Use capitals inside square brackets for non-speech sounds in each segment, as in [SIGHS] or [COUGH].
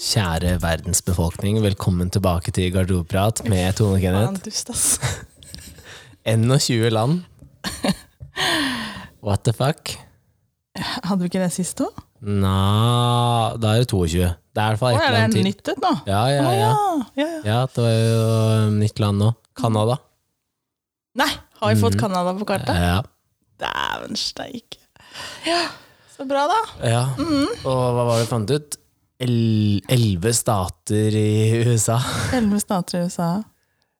Kjære verdensbefolkning, velkommen tilbake til Garderobeprat med Tone og Faen, Kenneth. dust, ass. 21 land. What the fuck? [LAUGHS] Hadde vi ikke det sist òg? Nå, da er det 22. Det er i hvert fall Å, et er det land til. nytt et nå? Ja, ja, Å, ja. ja, ja. ja, det var jo um, nytt land nå. Canada. Nei, har vi fått Mhm. Canada på kartet? Ja. Dæven steike. Ja, så bra, da. ja. Mm. Og hva var det vi fant ut? El- Elleve stater i [LAUGHS] USA Elleve stater i USA.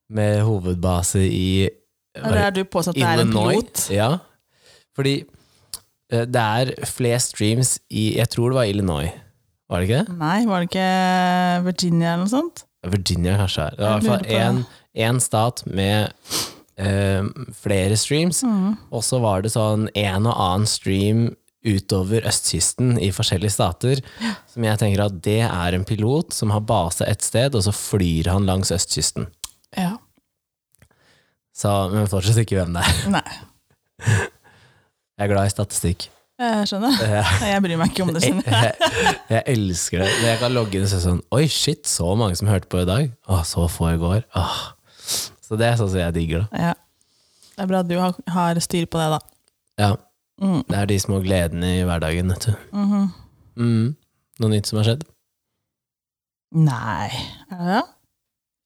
med hovedbase i Eller er du påstått at det er en pilot? Ja, fordi eh, det er flest streams i Jeg tror det var Illinois. Var det ikke det? Nei, var det ikke Virginia eller noe sånt? Virginia kanskje er. Det var i Jeg hvert lurer på fall én stat med eh, flere streams, Mm. og så var det sånn en og annen stream utover østkysten i forskjellige stater, som jeg tenker at det er en pilot som har base et sted, og så flyr han langs østkysten. Ja. Så, men fortsatt ikke hvem det er. Nei, Jeg er glad i statistikk. [LAUGHS] Eh, jeg skjønner. Ja. Nei, Jeg bryr meg ikke om det, jeg, skjønner [LAUGHS] jeg. jeg, jeg elsker det. Når jeg kan logge inn og se sånn Oi, shit, så mange som hørte på i dag. Å, så få i går. Åh. Så det er sånn som jeg digger det. Ja. Det er bra at du har, har styr på det, da. Ja, Mm. det er de små gledene i hverdagen, vet du. Mhm. Mm. Noe nytt som har skjedd? Nei, er det det?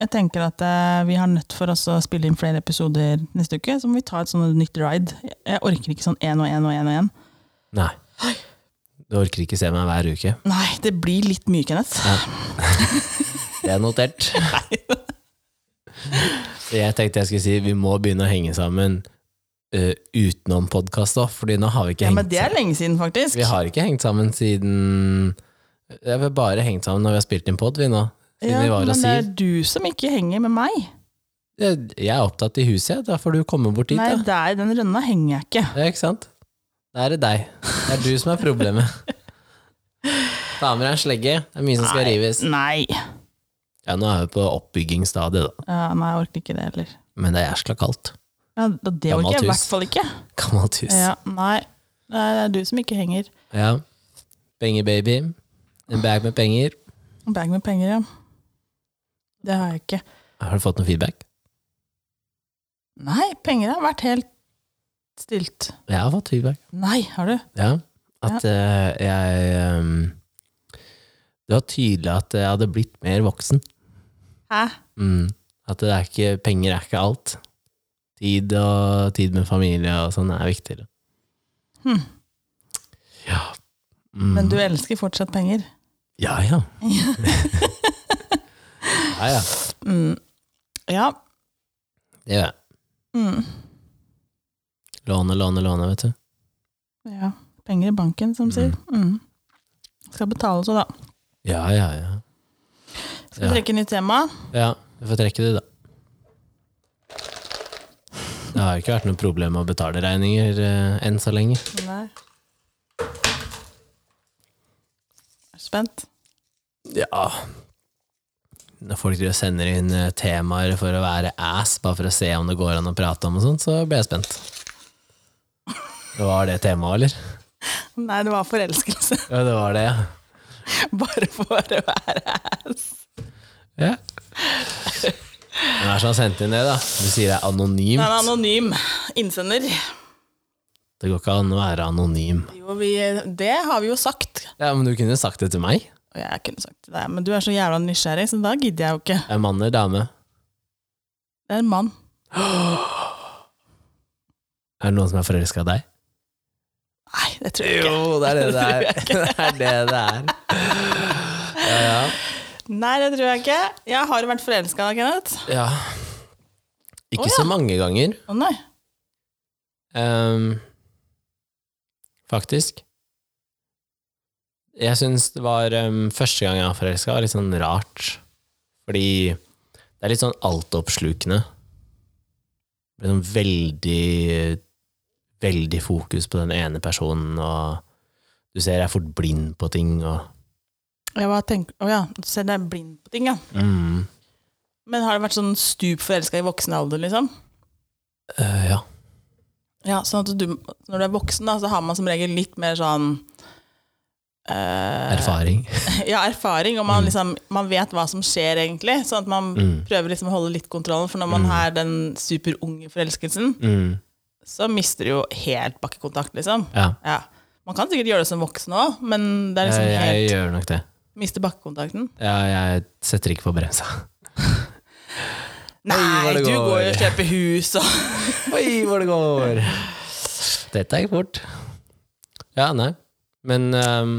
Jeg tenker at eh, vi har nødt for oss å spille inn flere episoder neste uke, så må vi ta et sånt nytt ride. Jeg, jeg orker ikke sånn én og én og én og én. Nei. Du orker ikke se meg hver uke. Nei, det blir litt mye, Kenneth. Det er [LAUGHS] notert. Så jeg tenkte jeg skulle si vi må begynne å henge sammen eh, utenom podkast òg, Fordi nå har vi ikke Ja, men hengt det er lenge siden, faktisk. Vi har ikke hengt sammen siden Vi har bare hengt sammen når vi har spilt inn pod, vi nå. Siden ja, vi var men og det er sier du som ikke henger med meg. Jeg jeg er opptatt i huset, jeg. da får du komme bort dit. Nei, Da. der, den rønna henger jeg ikke. Ja, ikke sant? Da er det deg. Det er du som er [LAUGHS] problemet. Ta med deg en slegge. Det er mye som skal rives. Nei. Ja, nå er vi på oppbyggingsstadiet, da. Ja, nei, jeg orker ikke det heller. Men det er jæskla kaldt. Ja, da- det Gammelt orker jeg i hus. hvert fall ikke. Gammelt hus. Ja. Ja, nei. nei, det er du som ikke henger. Penger, baby. En bag med penger. Bag med penger, ja. Det har jeg ikke. Har du fått noe feedback? Nei, penger har vært helt stilt. Jeg har fått feedback. Nei, har du? Ja, at eh, jeg ehm, Det var tydelig at jeg hadde blitt mer voksen. Hæ? Mm. At det er ikke, penger er ikke alt. Tid og tid med familie og sånn er viktigere. Hm. Ja. Mm. Men du elsker fortsatt penger. [LAUGHS] Ja, ja. ja, ja. Mm. Ja. Det gjør jeg. Mm. Låne, låne, låne, vet du. ja. Penger i banken, som sier. Mm. Skal betales òg, da. Ja, ja, ja. Ja. Skal vi trekke nytt tema? Ja, Vi får trekke det, da. Det har ikke vært noe problem å betale regninger eh, enn så lenge. Nei. Er du spent? Ja Når folk driver og sender inn eh, temaer for å være ass, bare for å se om det går an å prate om og sånt, så blir jeg spent. Det var det temaet, eller? Nei, det var forelskelse. Ja, det var det, ja. [LAUGHS] Bare for å være ass. ja. Hvem er det som har sendt inn det, da? Du sier det er Det er en anonymt. anonym innsender. Det går ikke an å være anonym. Jo, vi, det har vi jo sagt. Ja, Men du kunne sagt det til meg. Og jeg kunne sagt det, men du er så jævla nysgjerrig, så da gidder jeg jo ikke. Det Er mann eller dame? Det er en mann. Er det noen som er forelska i deg? Nei, det tror jeg ikke. Jo, det er det det [LAUGHS] tror er. jeg Det er det det er. Ja, ja. Nei, det tror jeg ikke. Jeg har vært forelska da, Kenneth. ja. Ikke Å, ja. så mange ganger. Å nei. Ehm, faktisk. Jeg syns det var ehm, første gang jeg var forelska, var litt sånn rart. Fordi det er litt sånn altoppslukende. Det blir sånn veldig Veldig fokus på den ene personen, og du ser jeg er fort blind på ting, og Jeg bare tenker, å ja, du ser deg blind på ting, ja. mm, Men har du vært sånn stup forelska i voksen alder, liksom? øh, Ja. Ja, sånn at du, når du er voksen, da, så har man som regel litt mer sånn eh, Erfaring. [LAUGHS] ja, erfaring, og man, liksom, man vet hva som skjer, egentlig. Sånn at man Mm. prøver liksom å holde litt kontrollen, for når man har den superunge forelskelsen, Mm. så mister du jo helt bakkekontakt, liksom. Ja. Ja. Man kan sikkert gjøre det som voksen òg, men det er liksom Jeg, jeg helt gjør nok det. Mister bakkekontakten. Ja, jeg setter ikke på bremsa. Nei, Oi, hvor det du går. går jo og kjøper hus og Oi, hvor det går! Dette gikk fort. Ja, nei. Men ehm,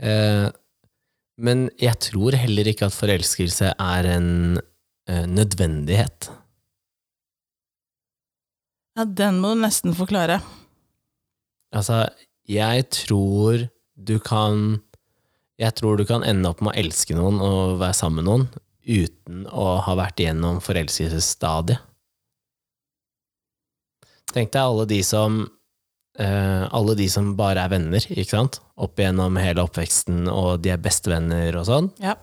eh, Men jeg tror heller ikke at forelskelse er en eh, nødvendighet. Ja, den må du nesten forklare. Altså, jeg tror du kan Jeg tror du kan ende opp med å elske noen og være sammen med noen uten å ha vært igjennom forelskelsesstadiet. Tenk deg alle de som eh, alle de som bare er venner, ikke sant? Opp igjennom hele oppveksten, og de er bestevenner og sånn. Ja.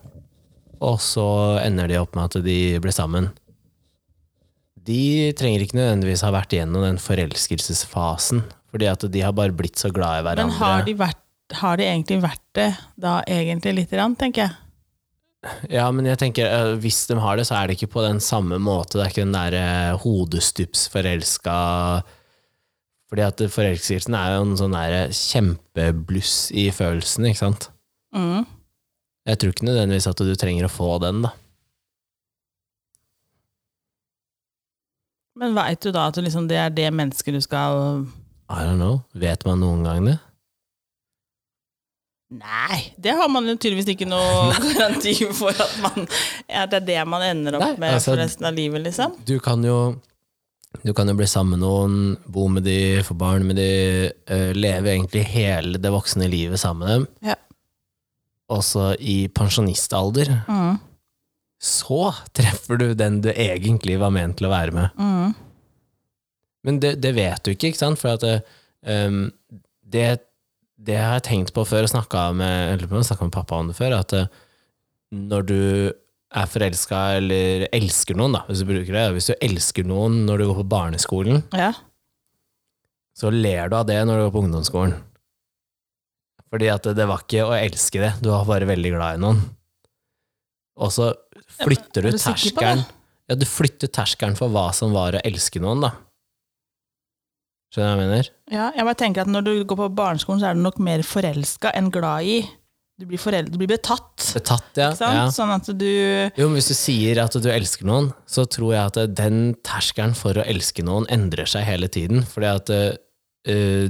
Og så ender de opp med at de blir sammen. De trenger ikke nødvendigvis ha vært igjennom den forelskelsesfasen, fordi at de har bare blitt så glad i hverandre. Men har de, vært, har de egentlig vært det da, egentlig, lite grann, tenker jeg. Ja, men jeg tenker, eh, hvis de har det, så er det ikke på den samme måte. Det er ikke den derre hodestupsforelska Fordi at forelskelsen er jo en sånn der kjempebluss i følelsen, ikke sant? Mm. Jeg tror ikke nødvendigvis at du trenger å få den, da. Men veit du da at du liksom, det er det mennesket du skal I don't know. Vet man noen gang det? Nei, det har man jo tydeligvis ikke [LAUGHS] noe garanti for at man ja, Det er det man ender opp Nei, med altså- for resten av livet, liksom. Du kan jo du kan jo bli sammen med noen, bo med de, få barn med de, eh, leve egentlig hele det voksne livet sammen med dem. Ja. Også i pensjonistalder Mm. så treffer du den du egentlig var ment til å være med. Mm. Men det, det vet du ikke, ikke sant? For at eh, um, det, det har jeg tenkt på før, og snakka med, eller jeg snakket med pappa om det før, at eh, når du er forelska eller elsker noen, da, hvis du bruker det, hvis du elsker noen når du går på barneskolen, Ja. så ler du av det når du går på ungdomsskolen. Fordi at det var ikke å elske det, du var bare veldig glad i noen. Og så flytter er du du sikker på terskelen det? Ja, du flytter terskelen for hva som var å elske noen, da. Skjønner du hva jeg mener? ja. Jeg bare tenker at når du går på barneskolen, så er du nok mer forelska enn glad i. Du blir, forel- du blir betatt, Betatt, ja. ikke sant? ja. Sånn at du Jo, men hvis du sier at du elsker noen, så tror jeg at den terskelen for å elske noen endrer seg hele tiden. Fordi at eh,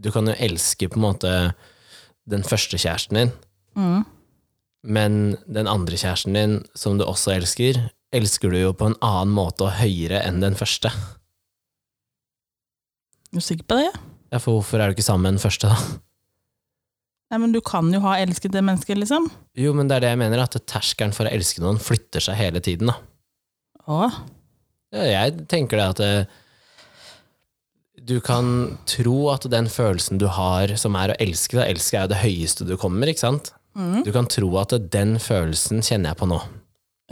du kan jo elske på en måte den første kjæresten din, mm. men den andre kjæresten din, som du også elsker, elsker du jo på en annen måte og høyere enn den første. Er du sikker på det? Ja, for hvorfor er du ikke sammen med den første, da? Nei, men du kan jo ha elsket det mennesket, liksom. Jo, men det er det jeg mener, at terskelen for å elske noen flytter seg hele tiden, da. Å, Ja, jeg tenker det at eh, du kan tro at den følelsen du har, som er å elske, da elske er jo det høyeste du kommer, ikke sant? Mhm. Du kan tro at den følelsen kjenner jeg på nå.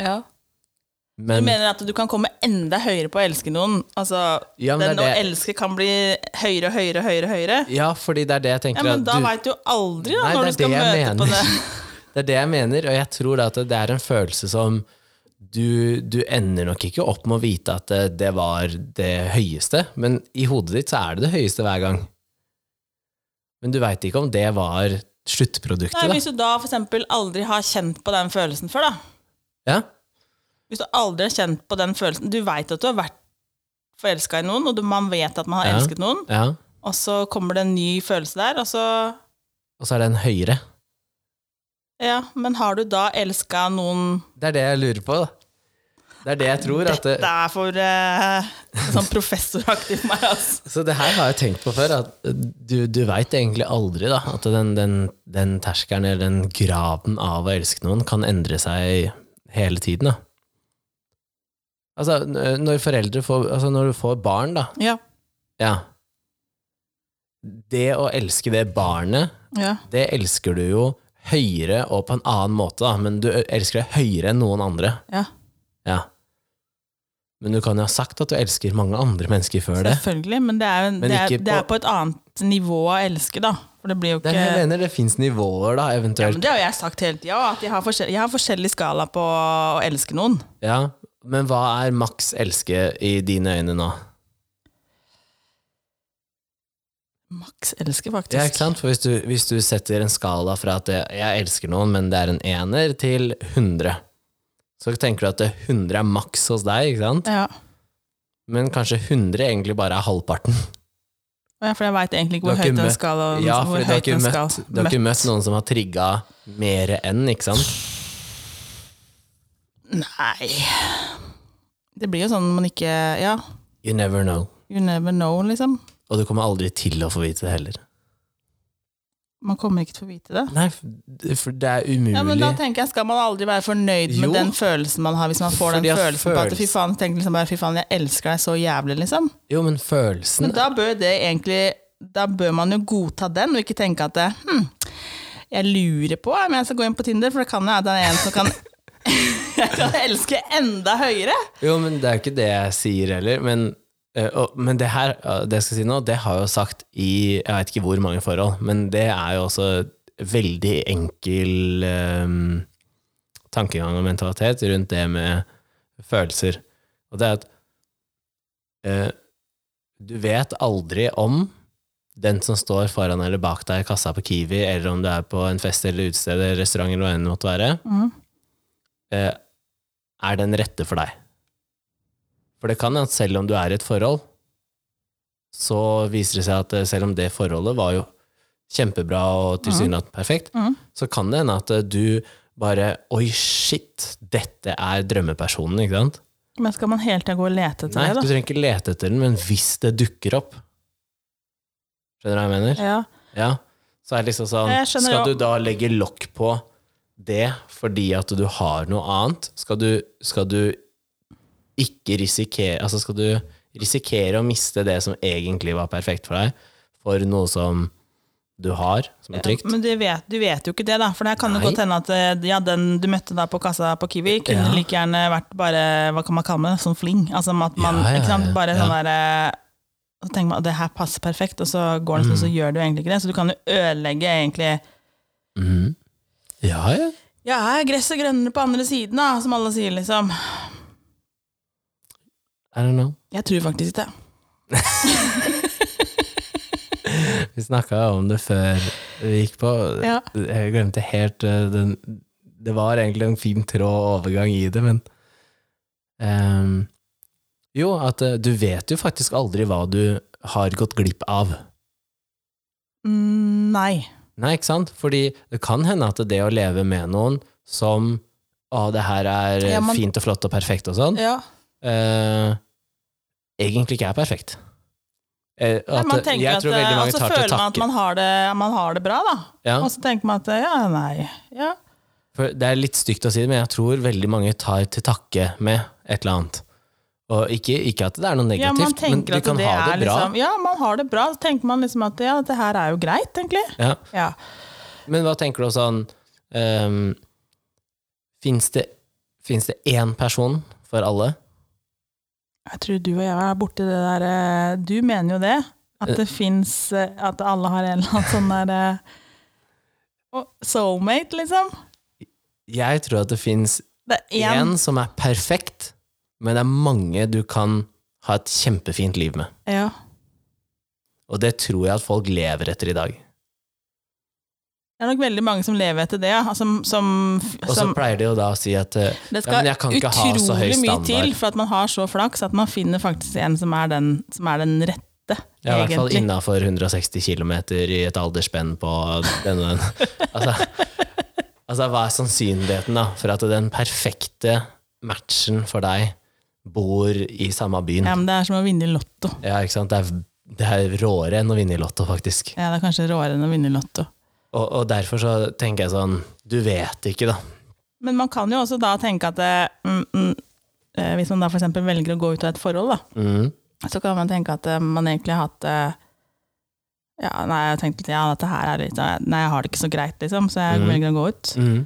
ja. Du Men, mener at du kan komme enda høyere på å elske noen? Altså, ja, men den det å er det, elske kan bli høyere og høyere og høyere? høyere. ja, fordi det er det jeg Ja, tenker men da at du, veit du aldri da, Nei, når det du er skal det møte jeg på det. mener. [LAUGHS] det er det jeg mener, og jeg tror at det er en følelse som du, du ender nok ikke opp med å vite at det, det var det høyeste, men i hodet ditt så er det det høyeste hver gang. Men du veit ikke om det var sluttproduktet, Nei, da. hvis du da for eksempel aldri har kjent på den følelsen før, da. Ja? Hvis du aldri har kjent på den følelsen Du veit at du har vært forelska i noen, og du, man vet at man har Ja. elsket noen, ja. og så kommer det en ny følelse der, og så Og så er den høyere. Ja, men har du da elska noen Det er det jeg lurer på. Da. Det er det jeg tror. At Dette det, er for eh, sånn professoraktig for meg, altså. så det her har jeg tenkt på før. At du du veit egentlig aldri da, at den, den, den terskelen eller den graden av å elske noen kan endre seg hele tiden. Da. Altså, n- når foreldre får Altså, når du får barn, da Ja. Ja. Det å elske det barnet, ja. det elsker du jo høyere og på en annen måte, da, men du elsker det høyere enn noen andre. ja. Ja. Men du kan jo ha sagt at du elsker mange andre mennesker før det. Selvfølgelig, men det er, jo en- Men det er, ikke på- det er på et annet nivå å elske, da. For det blir jo Det ikke er det jeg ja, mener, det fins nivåer, da, Eh, men eventuelt. Det har jo jeg sagt hele tida, at jeg har, forskjell, jeg har forskjellig skala på å elske noen. Ja, men hva er maks elske i dine øyne nå? Maks elsker, faktisk. Ja, ikke sant? For hvis du, hvis du setter en skala fra at det, jeg elsker noen, men det er en ener, til 100, så tenker du at det 100 er maks hos deg, ikke sant? Ja. Men kanskje 100 egentlig bare er halvparten. Ja, for jeg veit egentlig ikke Du hvor har ikke høyt den møtt- skal. Og Ja, for hvor du har høyt ikke den møtt, skal. du har ikke møtt noen som har trigga mer enn, ikke sant? Nei Det blir jo sånn man ikke Ja, You never know. you never know, liksom. Og du kommer aldri til å få vite det heller. Man kommer ikke til å vite det. Nei, f- for det er umulig. Ja, men da tenker jeg, Skal man aldri være fornøyd Jo. med den følelsen man har, hvis man får Fordi den at følelsen på at følelsen- fy faen, tenk liksom bare, fy faen, jeg elsker deg så jævlig, liksom. Jo, men følelsen Men da bør det egentlig Da bør man jo godta den, og ikke tenke at det, hm, jeg lurer på om jeg skal gå inn på Tinder, for det kan jo være at det er en som kan [LAUGHS] Jeg kan elske enda høyere. Jo, men det er jo ikke det jeg sier heller. Men, eh, og, men det her, eh, det jeg skal si nå, det har jeg jo sagt i jeg veit ikke hvor mange forhold, men det er jo også veldig enkel eh, tankegang og mentalitet rundt det med følelser. Og det er at eh, du vet aldri om den som står foran eller bak deg i kassa på Kiwi, eller om du er på en fest eller utested eller restaurant eller hva enn det måtte være, eh, er den rette for deg. For det kan hende at selv om du er i et forhold, så viser det seg at eh, selv om det forholdet var jo kjempebra og tilsynelatende perfekt, Mhm. så kan det hende at eh, du bare Oi, shit! Dette er drømmepersonen, ikke sant? Men skal man hele tida gå og lete etter Nei, det, du da? trenger ikke lete etter den, men hvis det dukker opp Skjønner du hva jeg mener? Ja. Ja. Så er det liksom sånn Ja, jeg skjønner Skal jo. du da legge lokk på det fordi at du har noe annet? Skal du, skal du ikke risikere Altså, skal du risikere å miste det som egentlig var perfekt for deg, for noe som du har, som er trygt? Men du vet, du vet jo ikke det, da. For det kan jo Nei. godt hende at eh, ja, den du møtte da på kassa på Kiwi, kunne Ja. like gjerne vært bare Hva kan man kalle det? Sånn fling. Altså at man Ja, ja, ikke sant, ja, bare ja. sånn der eh, Så tenker man at det her passer perfekt, og så går det sånn, Mm. så gjør du egentlig ikke det. Så du kan jo ødelegge egentlig Mhm. Ja, ja. Ja, her er gresset grønnere på andre siden, da, som alle sier, liksom. I don't know. Jeg tror faktisk ikke det. Vi snakka om det før vi gikk på. Ja. Jeg glemte helt eh, den Det var egentlig en fin tråd og overgang i det, men ehm, Jo, at eh, du vet jo faktisk aldri hva du har gått glipp av. Mm, nei. Nei, ikke sant? Fordi det kan hende at det å leve med noen som Å, det her er eh, Ja, man- fint og flott og perfekt og sånn, Ja. eh, egentlig ikke er perfekt. Eh, Nei, at, man tenker jeg at, tror veldig eh, mange og så tar til føler man at takke. man har det, man har det bra, da. Ja. Og så tenker man at eh, ja, nei. Ja. For det er litt stygt å si det, men jeg tror veldig mange tar til takke med et eller annet. Og ikke, ikke at det er noe Ja, man negativt, men tenker du at kan det ha det er bra. Liksom, ja, man har det bra. Så tenker man liksom at ja, dette her er jo greit, egentlig. Ja. Ja. Men hva tenker du om sånn um, Fins det, finnes det én person for alle? Jeg tror du og jeg er borti det der eh, Du mener jo det. At Eh. det fins At alle har en eller annen sånn der eh, og Soulmate, liksom. Jeg tror at det fins Det er én. én som er perfekt, men det er mange du kan ha et kjempefint liv med. Ja. Og det tror jeg at folk lever etter i dag. Det er nok veldig mange som lever etter det, ja. Altså, som, Og så som pleier de jo da å si at uh, Det ja, skal men jeg kan ikke ha så høy utrolig mye til standard. for at man har så flaks at man finner faktisk en som er den, som er den rette, Ja, i hvert fall egentlig. innafor 160 km i et aldersspenn på den og den. [LAUGHS] Altså, altså, hva er sannsynligheten da for at den perfekte matchen for deg bor i samme byen? Ja, men det er som å vinne i Lotto. Ja, ikke sant? Det er, det er råere enn å vinne i Lotto, faktisk. Ja, det er kanskje råere enn å vinne i Lotto. Og, og derfor så tenker jeg sånn Du vet ikke, da. Men man kan jo også da tenke at eh, mm, mm, eh, hvis man da for eksempel velger å gå ut av et forhold, da, Mm. så kan man tenke at eh, man egentlig har hatt eh, ja, nei, jeg tenkte at ja, dette her er litt eh, Nei, jeg har det ikke så greit, liksom, så jeg Mm. velger å gå ut. Mm.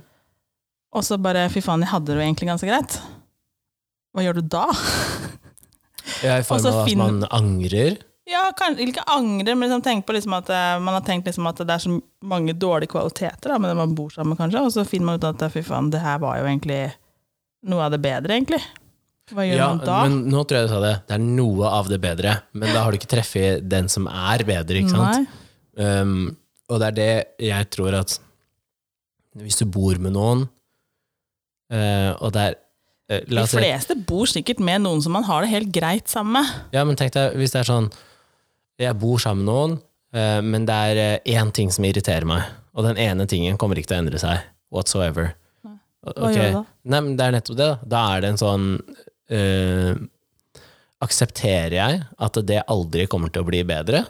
Og så bare fy faen, jeg hadde det jo egentlig ganske greit. Hva gjør du da? [LAUGHS] Ja, I form så av at finn- man angrer. Ja, kan, ikke angre, men liksom tenk på liksom at eh, man har tenkt liksom at det er så mange dårlige kvaliteter da, med den man bor sammen, kanskje, og så finner man ut at eh, fy faen, det her var jo egentlig noe av det bedre, egentlig. Hva gjør Ja, man da? men nå tror jeg du sa det. Det er noe av det bedre, men da har du ikke treffet den som er bedre, ikke sant? Nei. Um, og det er det jeg tror at hvis du bor med noen, eh, og det er eh, la De oss si- fleste bor sikkert med noen som man har det helt greit sammen med. Ja, men tenk deg, hvis det er sånn Jeg bor sammen med noen, eh, men det er eh, én ting som irriterer meg, og den ene tingen kommer ikke til å endre seg whatsoever. Hva Ok. gjør du da? Nei, men det er nettopp det. Da Da er det en sånn eh, Aksepterer jeg at det aldri kommer til å bli bedre?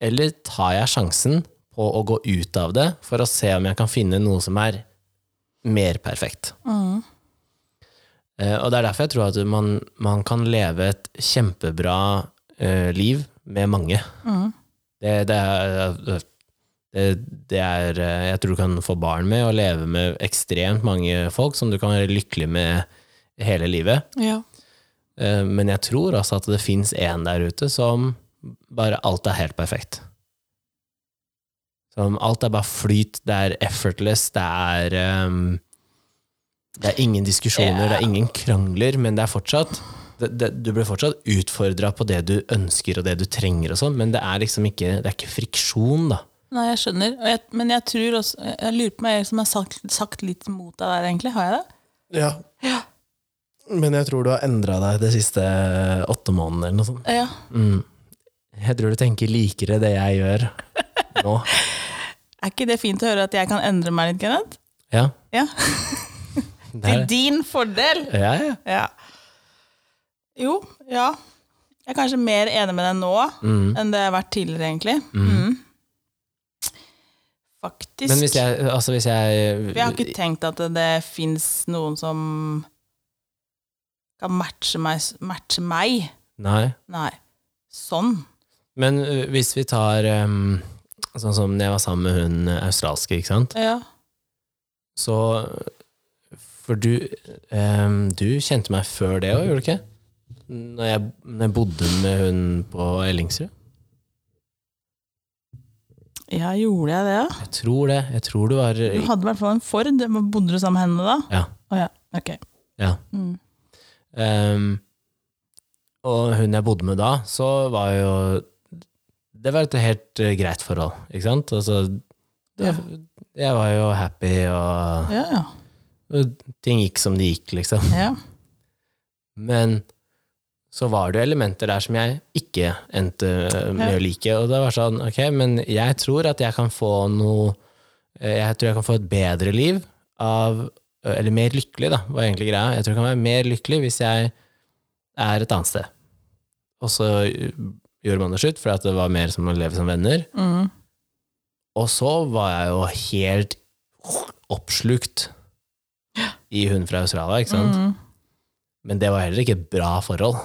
Eller tar jeg sjansen på å gå ut av det for å se om jeg kan finne noe som er mer perfekt? Mm. Eh, og det er derfor jeg tror at man, man kan leve et kjempebra eh, liv med mange. Mm. Det, det, er, det, det er eh, Jeg tror du kan få barn med og leve med ekstremt mange folk som du kan være lykkelig med hele livet. Ja. Eh, Men jeg tror også at det fins en der ute som bare alt er helt perfekt. Som alt er bare flyt, det er effortless, det er eh, Det er ingen diskusjoner, det er ingen krangler, men det er fortsatt det, det, du blir fortsatt utfordra på det du ønsker og det du trenger, og sånn, men det er liksom ikke Det er ikke friksjon, da. Nei, jeg skjønner. Og jeg, men jeg tror også Jeg lurer på om jeg liksom har sagt, sagt litt mot deg der, egentlig. Har jeg det? Ja. Men jeg tror du har endra deg de siste åtte månedene, eller noe sånt. Ja. Mm. Jeg tror du tenker likere det jeg gjør nå. Er ikke det fint å høre at jeg kan endre meg litt, Kenneth? Ja. Ja. Det Til er, din fordel! ja, ja. Ja. Jo, ja. Jeg er kanskje mer enig med deg nå Mm. enn det jeg har vært tidligere, egentlig. Mm. Faktisk. Men hvis jeg, altså hvis jeg For jeg har ikke tenkt at det, det fins noen som kan matche meg, matche meg. Nei. Nei. Sånn. Men ø, hvis vi tar um, sånn som når jeg var sammen med hun øh, australske, ikke sant, Ja. så For du em, Du kjente meg før det òg, gjorde du ikke? Når jeg, når jeg bodde med hun på Ellingsrud? ja, gjorde jeg det, da? Jeg tror det. Jeg tror du var Du hadde i hvert fall en Ford. Men Bodde du sammen med henne da? Ja. Å ja. Ok. Ja. Mm. Ehm, og hun jeg bodde med da, så var jo Det var et helt eh, greit forhold, ikke sant? Altså, det, Jeg var jo happy, og Ja, ja. ting gikk som det gikk, liksom. ja. Men så var det jo elementer der som jeg ikke endte eh, med Ja. å like. Og det var sånn, ok, men jeg tror at jeg kan få noe eh, Jeg tror jeg kan få et bedre liv av Eller mer lykkelig, da, var egentlig greia. Jeg tror jeg kan være mer lykkelig hvis jeg er et annet sted. Og så eh, gjorde man det slutt, for at det var mer som å leve som venner. Mm. Og så var jeg jo helt oppslukt i hun fra Australia, ikke sant? Mm. Men det var heller ikke et bra forhold.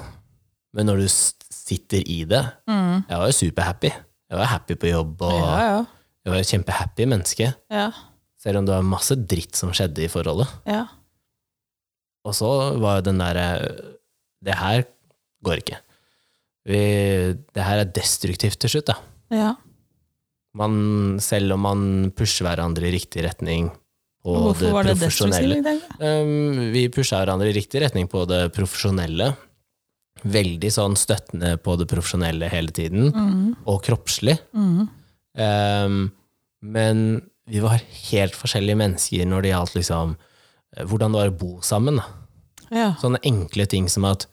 Men når du s- sitter i det Mm. Jeg var jo superhappy. Jeg var happy på jobb, og Ja, ja. jeg var et kjempehappy menneske. Ja. Selv om det var masse dritt som skjedde i forholdet. ja. Og så var jo den derre Det her går ikke. Vi, det her er destruktivt til slutt, da. Ja, Man, selv om man pusher hverandre i riktig retning på Hvorfor det var det profesjonelle destruktivt? i dag? Um, vi pusha hverandre i riktig retning på det profesjonelle. Veldig sånn støttende på det profesjonelle hele tiden, Mm, og kroppslig. mm, Um, men vi var helt forskjellige mennesker når det gjaldt liksom eh, hvordan det var å bo sammen. Da. ja. Sånne enkle ting som at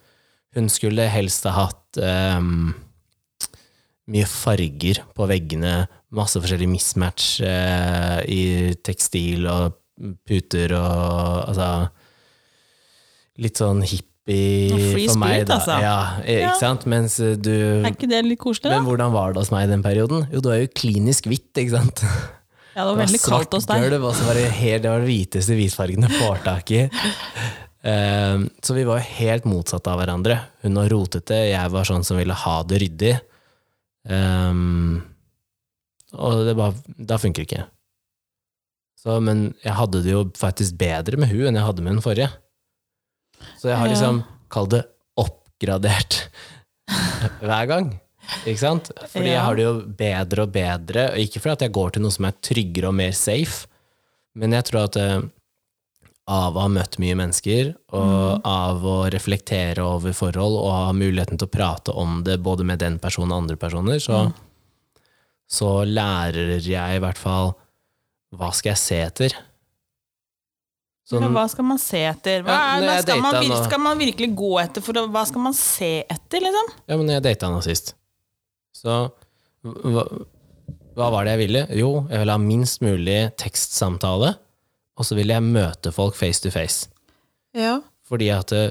hun skulle helst ha hatt um, mye farger på veggene, masse forskjellig mismatch eh, i tekstil og puter og altså Litt sånn hippie Free for meg, spirit, da. altså. Ja, eh, Ja. ikke sant? Mens eh, du Er ikke det litt koselig, da? Men hvordan var det hos meg i den perioden? Jo, du er jo klinisk hvitt, ikke sant? Ja, det var veldig svart kaldt hos deg. gulv, og så var det helt, det var den hviteste hvitfargen jeg får tak i. Ehm, så vi var jo helt motsatte av hverandre. Hun var rotete, jeg var sånn som ville ha det ryddig. Ehm, og det bare, da funker det ikke. Så, men jeg hadde det jo faktisk bedre med hun enn jeg hadde med den forrige. Så jeg har Ja. liksom, kall det oppgradert hver gang. Ikke sant? Fordi Ja. jeg har det jo bedre og bedre, og ikke fordi at jeg går til noe som er tryggere og mer safe, men jeg tror at eh, av å ha møtt mye mennesker, og Mhm. av å reflektere over forhold, og ha muligheten til å prate om det både med den personen og andre personer, så, Mhm. så lærer jeg i hvert fall hva skal jeg se etter? Men Sånn, hva skal man se etter? Hva Ja, er, når hva jeg skal, man, data vir- nå- skal man virkelig gå etter? For å- hva skal man se etter, liksom? Ja, men jeg data henne sist. Så hva, hva var det jeg ville? Jo, jeg ville ha minst mulig tekstsamtale, og så ville jeg møte folk face to face. Ja. Fordi at eh,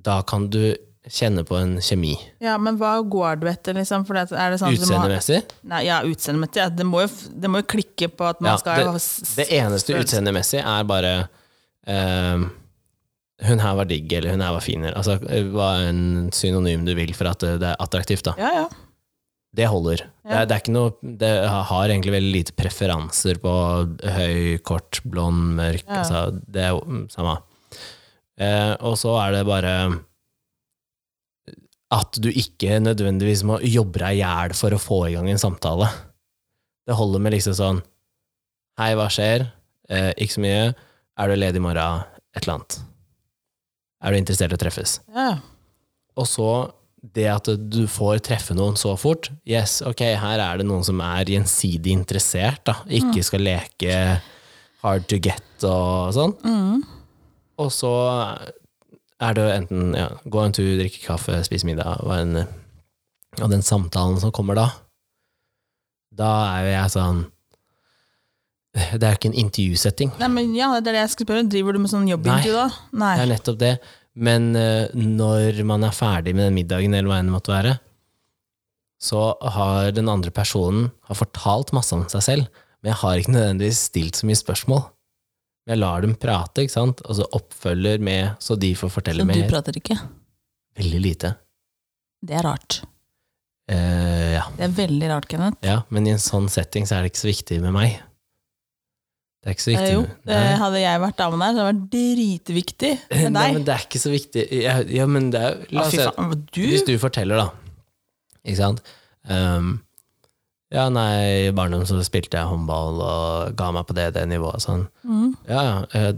da kan du kjenne på en kjemi. men hva går du etter, liksom? For det, er det sånn at du må ha- Utseendemessig. Nei, ja, utseendemessig. Ja. Det, må jo f- det må jo klikke på at man Ja, skal det, det eneste utseendemessig er bare ehm, Hun her var digg, eller hun her var fin, eller altså, hva en synonym du vil for at eh, det det er attraktivt, da. Ja, ja. Det holder. Det, Ja. er, det er ikke noe Det har egentlig veldig lite preferanser på høy, kort, blond, mørk Ja. altså, Det er jo mm, samme. Eh, og så er det bare at du ikke nødvendigvis må jobbe deg i hjel for å få i gang en samtale. Det holder med liksom sånn Hei, hva skjer? Eh, ikke så mye. Er du ledig i morgen? Et eller annet. Er du interessert i å treffes? ja. Og så det at du får treffe noen så fort. Yes, ok, her er det noen som er gjensidig interessert, da. Ikke skal leke hard to get og sånn. Mm. Og så er det jo enten ja, gå en tur, drikke kaffe, spise middag, og, en, og den samtalen som kommer da, da er jo jeg sånn Det er jo ikke en intervjusetting. Nei, men ja, det er det jeg skulle spørre. Driver du med sånn jobbintervju da? Nei. Det er nettopp det. Men eh, når man er ferdig med den middagen, eller hva enn det måtte være, så har den andre personen har fortalt masse om seg selv, men jeg har ikke nødvendigvis stilt så mye spørsmål. Jeg lar dem prate, ikke sant? og så oppfølger med, så de får fortelle Så du mer. prater ikke? Veldig lite. Det er rart. Eh, ja. Det er veldig rart, Kenneth. ja, men i en sånn setting så er det ikke så viktig med meg. Det er ikke så Eh, viktig. jo, med- det Nei. hadde jeg vært damen der, så hadde det vært dritviktig Eh, med [CLEARS THROAT] [LAUGHS] Nei, deg. men det er ikke så viktig. Ja, ja men det er, Å, la oss fy se. faen, du? Hvis du forteller, da. Ikke sant? Ehm, ja, nei, i barndommen så spilte jeg håndball og ga meg på det, det nivået. og Sånn. Mm. Ja, ja. eh,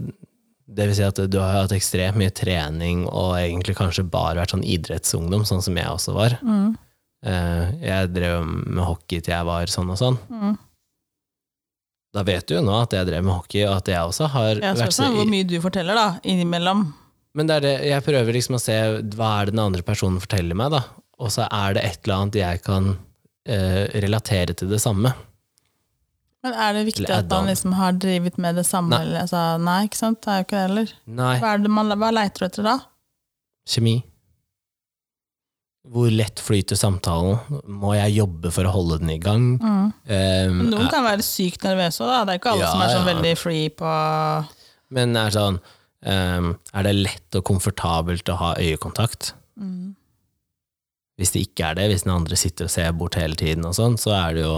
Det vil si at du har hatt ekstremt mye trening og egentlig kanskje bare vært sånn idrettsungdom, sånn som jeg også var. Mm. Eh, Jeg drev med hockey til jeg var sånn og sånn. Mm. Da vet du jo nå at jeg drev med hockey, og at jeg også har Jeg vært spør så meg hvor mye du forteller, da, innimellom. Men det er det, jeg prøver liksom å se hva er det den andre personen forteller meg, da. Og så er det et eller annet jeg kan eh, relatere til det samme. Men er det viktig Eller at man add-on. liksom har drevet med det samme? Nei. Nei, altså, nei ikke sant? Det er jo ikke det heller. Nei, Hva, er det man, hva leiter du etter da? kjemi. Hvor lett flyter samtalen? Må jeg jobbe for å holde den i gang? Mm. Eh, Men Noen kan være sykt nervøse òg, da. Det er ikke alle Ja, som er sånn ja. veldig free på men er sånn eh, Er det lett og komfortabelt å ha øyekontakt? mm. Hvis det ikke er det, hvis den andre sitter og ser bort hele tiden, og sånn, så er det jo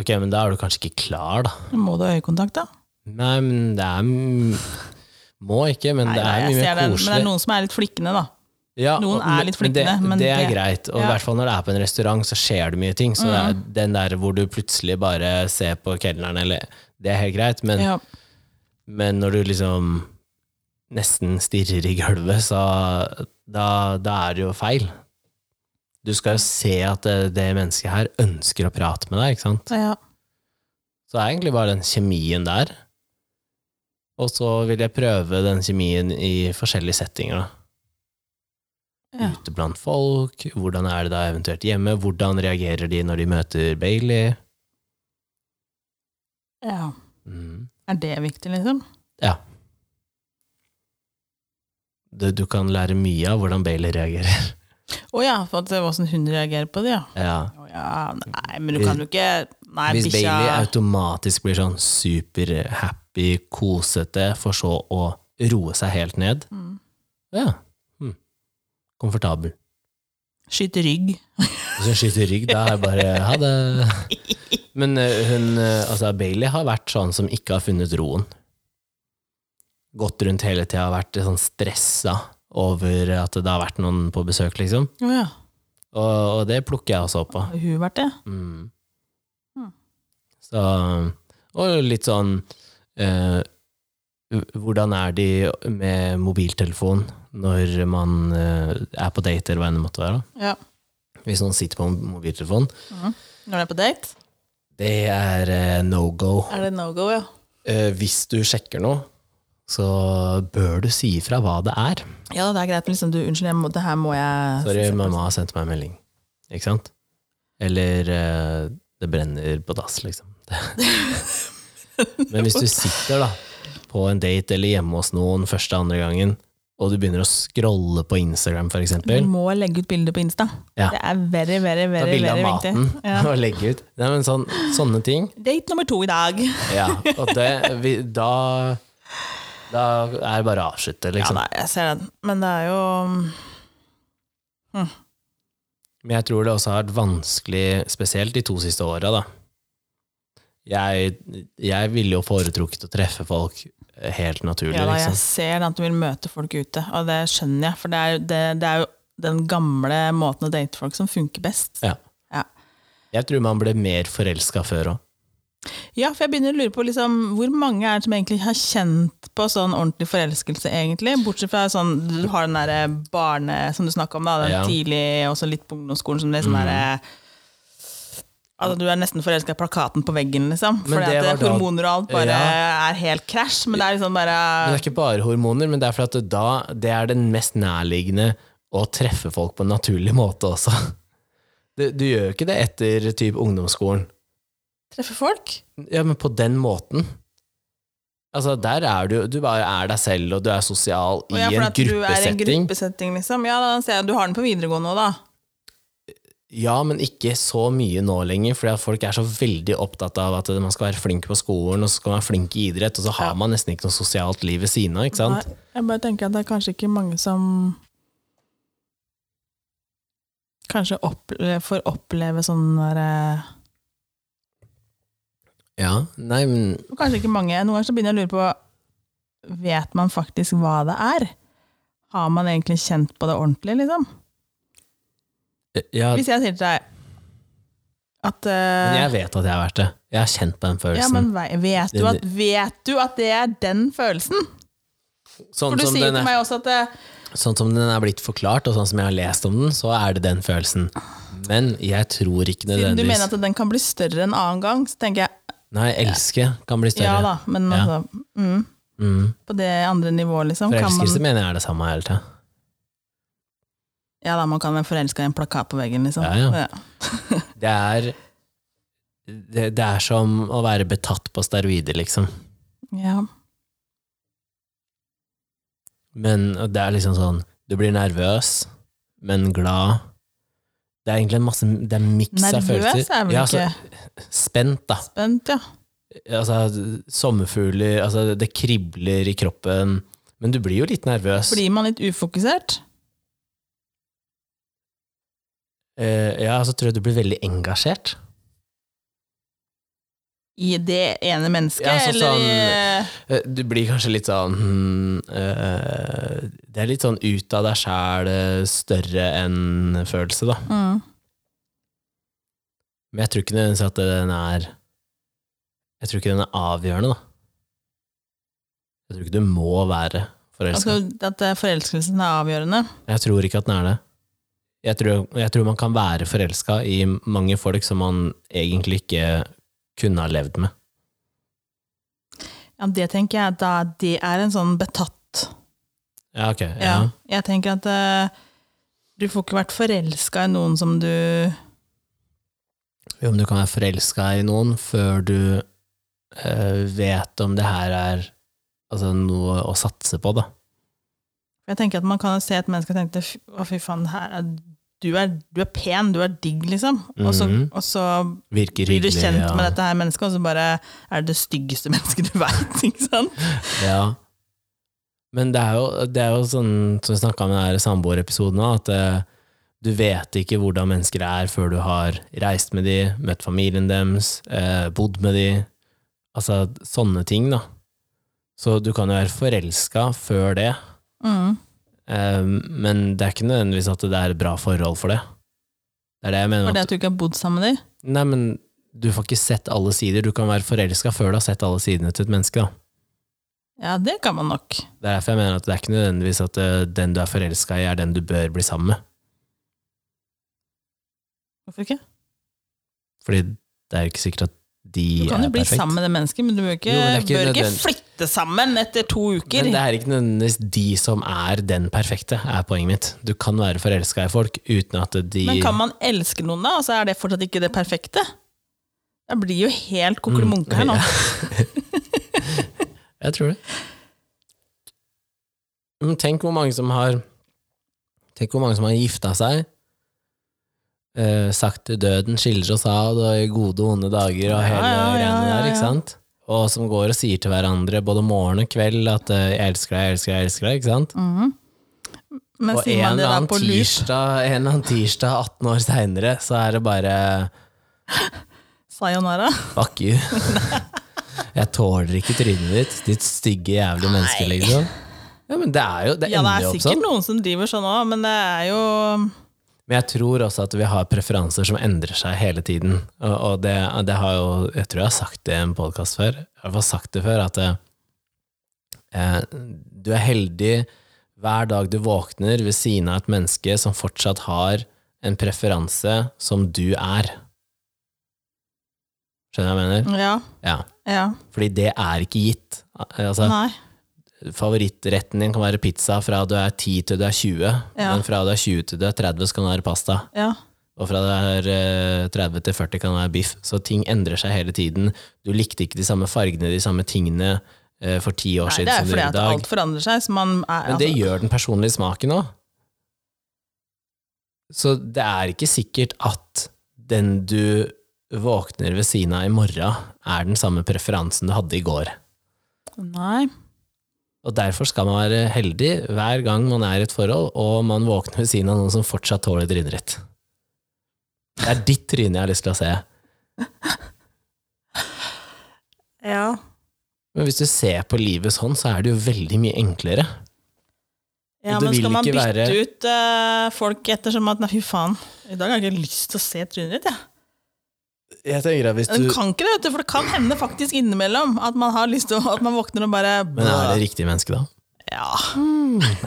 Ok, men da er du kanskje ikke klar, da. Må du ha øyekontakt, da? Nei, men det er m- Må ikke, men Nei, det nei, er jeg mye ser det. mer Men det er koselig. noen som er litt flikkende, da. Ja, noen og- er litt flikkende, det, men det er det- greit. Og i ja. Mm. hvert fall når det er på en restaurant, så skjer det mye ting. Så det er den der hvor du plutselig bare ser på kelneren, eller Det er helt greit, men, Ja. men når du liksom nesten stirrer i gulvet, så da, da er det jo feil. Du skal jo se at det, det mennesket her ønsker å prate med deg, ikke sant? Så, ja. Så det er egentlig bare den kjemien der. Og så vil jeg prøve den kjemien i forskjellige settinger. Da. Ja. Ute blant folk, hvordan er det da eventuelt hjemme, hvordan reagerer de når de møter Bailey? ja. Mm. Er det viktig, liksom? Du, du kan lære mye av hvordan Bailey reagerer. Å ja, for at åssen hun reagerer på det, ja. Ja. Å ja. Nei, men du kan jo ikke Nei, Hvis bikkja Bailey automatisk blir sånn superhappy, kosete, for så å roe seg helt ned, Mm. ja, mm. komfortabel. Skyter rygg. Hvis hun skyter rygg, da er jeg bare ha det. Men eh, hun, eh, altså Bailey har vært sånn som ikke har funnet roen. Gått rundt hele tida, vært sånn stressa over at det har vært noen på besøk, liksom. Å ja. Og, og det plukker jeg også opp av. Har hun vært det? Mm. Hmm. Så, og litt sånn eh, Hvordan er de med mobiltelefon når man eh, er på date, eller hva enn det måtte være? Ja. da? Hvis noen sitter på mobiltelefon. Når du er på date? Det er eh, no go. Er det no go, ja? Eh, hvis du sjekker noe, så bør du si ifra hva det er. Ja, det er greit, men liksom du, unnskyld, jeg må, det her må jeg Sorry, se på. mamma har sendt meg en melding. Ikke sant? Eller eh, det brenner på dass, liksom. [LAUGHS] Men hvis du sitter da på en date eller hjemme hos noen første andre gangen, og du begynner å scrolle på Instagram, for Du eksempel, må legge ut bilder på Insta. Ja. Det er very, very, ta very, bilde av very viktig. maten Ja. [LAUGHS] og legge ut. Nei, men sånn, sånne ting. Date nummer to i dag. Ja, og det, vi, da, da er det bare å avslutte, Ja, liksom. nei, jeg ser den. Men det er jo Men jeg tror det også har vært vanskelig, spesielt de to siste åra, da. Jeg, jeg ville jo foretrukket å treffe folk helt naturlig, Ja da, jeg liksom. ser at du vil møte folk ute, og det skjønner jeg. For det er, det, det er jo den gamle måten å date folk som funker best. Ja. Ja. Jeg tror man ble mer forelska før òg. Ja, for jeg begynner å lure på liksom, hvor mange er det som egentlig har kjent på sånn ordentlig forelskelse, egentlig? Bortsett fra sånn, du har den derre barne... Som du snakka om, da. Den Ja. Mm. tidlig, også litt på ungdomsskolen, som det er sånn derre Altså, du er nesten forelska i plakaten på veggen, liksom. Men Fordi det at var da- hormoner og alt bare er helt krasj. Men det er liksom bare Men det er ikke bare hormoner, men det er for at det da det er den mest nærliggende å treffe folk på en naturlig måte også. Du, du gjør jo ikke det etter typ ungdomsskolen. Treffe folk? Ja, men på den måten. Altså, der er du Du bare er deg selv, og du er sosial i Og ja, for en at du er i en gruppesetting. gruppesetting, liksom. Ja, da ser jeg du har den på videregående òg, da. Ja, men ikke så mye nå lenger, fordi at folk er så veldig opptatt av at man skal være flink på skolen, og så skal man være flink i idrett, og så har Ja. man nesten ikke noe sosialt liv ved siden av, ikke sant? Nei, jeg bare tenker at det er kanskje ikke mange som Kanskje opple får oppleve sånn der eh, Ja, nei, men Kanskje ikke mange. Noen ganger så begynner jeg å lure på Vet man faktisk hva det er? Har man egentlig kjent på det ordentlig, liksom? ja, Hvis jeg sier til deg at men eh, jeg vet at jeg har vært det. Jeg har kjent på den ja, følelsen. men ve- vet du, at, vet du at det er den følelsen? For sånn, du som sier jo den til er, meg også at eh, sånn som den er blitt forklart, og sånn som jeg har lest om den, så er det den følelsen. Men jeg tror ikke siden du mener nødvendigvis at den kan bli større en annen gang, så tenker jeg Nei, elske kan bli ja større. da, men Ja. altså mm. Mm. på det andre nivået, liksom. Kan Forelskelse man, mener jeg er det samme hele tida. ja da, man kan være forelska i en plakat på veggen, liksom. Ja, ja. Det er det, det er som å være betatt på steroider, liksom. Ja. Men det er liksom sånn Du blir nervøs, men glad. Det er egentlig en masse Det er miks av Nervøs følelser. er vel Ja, ikke altså, Spent, da. spent, ja. Altså, sommerfugler altså, Det kribler i kroppen. Men du blir jo litt nervøs. Blir man litt ufokusert? Eh, ja, så tror jeg du blir veldig engasjert. I det ene mennesket, Ja, altså eller i- Eh, Du blir kanskje litt sånn hmm, eh, Det er litt sånn ut av deg sjæl, eh, større enn følelse, da. mm. Men jeg tror ikke nødvendigvis at den er Jeg tror ikke den er avgjørende, da. Jeg tror ikke du må være forelska. altså, At eh, forelskelsen er avgjørende. Jeg tror ikke at den er det. Jeg tror, jeg tror man kan være forelska i mange folk som man egentlig ikke kunne ha levd med. Ja, det tenker jeg da det er en sånn betatt Ja, ok. Ja. Ja. Jeg tenker at eh, du får ikke vært forelska i noen som du Jo, men du kan være forelska i noen før du eh, vet om det her er altså, noe å satse på, da. Jeg tenker at man kan se et menneske og tenke "Fy- Å fy faen, her er, du, er, du er pen, du er digg, liksom. Og så, Mhm. og så Virker blir du hyggelig. kjent ja. med dette her mennesket, og så bare er det det styggeste [LAUGHS] mennesket du veit. Ikke sant? Ja. Men det er jo, det er jo sånn som vi snakka om i den her samboerepisoden òg, at eh, du vet ikke hvordan mennesker er før du har reist med de, møtt familien deres, eh, bodd med de. Altså sånne ting, da. Så du kan jo være forelska før det, Mm. eh, men det er ikke nødvendigvis at det er et bra forhold for det. Det er det jeg mener. For at- det at du ikke har bodd sammen med dem? Nei, men du får ikke sett alle sider. Du kan være forelska før du har sett alle sidene til et menneske. Da. Ja, det kan man nok. Det er derfor jeg mener at det er ikke nødvendigvis at eh, den du er forelska i, er den du bør bli sammen med. Hvorfor ikke? Fordi det er ikke sikkert at de Du kan er jo bli perfekt. sammen med det mennesket, men du bør ikke, Jo, men det er ikke bør ikke nødvendig. flytte sammen etter to uker. Men det er ikke nødvendigvis de som er den perfekte, er poenget mitt. Du kan være forelska i folk uten at de Men kan man elske noen da, og så er det fortsatt ikke det perfekte? Jeg blir jo helt kokkelimunke her nå. Mm. [LAUGHS] Jeg tror det. Men tenk hvor mange som har Tenk hvor mange som har gifta seg, eh, sagt til døden skiller oss ad og i gode og onde dager og Ja, hele ja, ja, greiene ja, der, ja. ikke sant? Og som går og sier til hverandre både morgen og kveld at eh, 'jeg elsker deg, jeg elsker deg', jeg elsker deg, ikke sant? Mhm. Men Og en sier man det eller, da annen på loop, tirsdag, en eller annen tirsdag 18 år seinere, så er det bare sayonara? Fuck you. [LAUGHS] Jeg tåler ikke trynet ditt, ditt stygge, jævlig menneske, Nei. liksom. Ja, men det er jo Det Ja, det ender er jo opp sikkert sånn. noen som driver sånn òg, men det er jo Men jeg tror også at vi har preferanser som endrer seg hele tiden. Og, og det, det har jo Jeg tror jeg har sagt det i en podkast før. Jeg har i hvert fall sagt det før, at eh, du er heldig hver dag du våkner ved siden av et menneske som fortsatt har en preferanse som du er. Skjønner du hva jeg mener? Ja. Ja. ja. Fordi det er ikke gitt. Altså, Nei. favorittretten din kan være pizza fra du er 10 til du er 20, Ja. men fra du er 20 til du er 30 så kan det være pasta, Ja. og fra du er eh, 30 til 40 kan det være biff. Så ting endrer seg hele tiden. Du likte ikke de samme fargene, de samme tingene eh, for ti år Nei, siden det er som du fordi gjør i at dag. alt forandrer seg, så man er Men det altså, gjør den personlige smaken òg. Så det er ikke sikkert at den du våkner ved siden av i morgen, er den samme preferansen du hadde i går. Nei. Og derfor skal man være heldig hver gang man er i et forhold, og man våkner ved siden av noen som fortsatt tåler trynet ditt. Det er ditt tryne jeg har lyst til å se. Ja. Men hvis du ser på livet sånn, så er det jo veldig mye enklere. ja Og det men vil skal man ikke bytte være- ut eh, folk ettersom at Nei, fy faen, i dag har jeg ikke lyst til å se trynet ditt, jeg. Jeg tenker at hvis Den kan ikke det, vet du, for det kan hende faktisk innimellom at man har lyst til å, at man våkner og bare Men er det riktig menneske, da? Ja.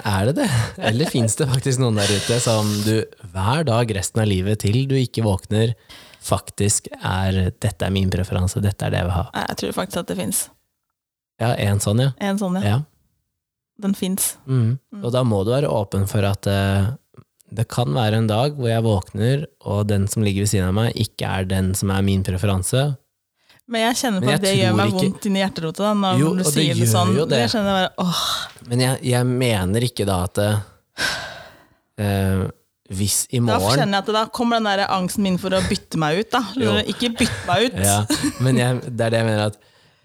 Er det det? Eller fins det faktisk noen der ute som du hver dag resten av livet til du ikke våkner, faktisk er 'dette er min preferanse, dette er det jeg vil ha'? Nei, Jeg tror faktisk at det fins. Ja, en sånn, ja. En sånn, ja. ja. Den fins. Mm. Mm. Og da må du være åpen for at eh, det kan være en dag hvor jeg våkner, og den som ligger ved siden av meg, ikke er den som er min preferanse. Men jeg kjenner på Men jeg at det gjør tror meg ikke- vondt inni hjerterota da, når Jo, du og det sier det gjør sånn. jo det. Jeg kjenner bare, åh, Men jeg, jeg mener ikke da at eh, hvis i da morgen kjenner jeg at det, da kommer den der angsten min for å bytte meg ut. da. Jo. Ikke bytte meg ut. ja, Men jeg, det er det jeg mener at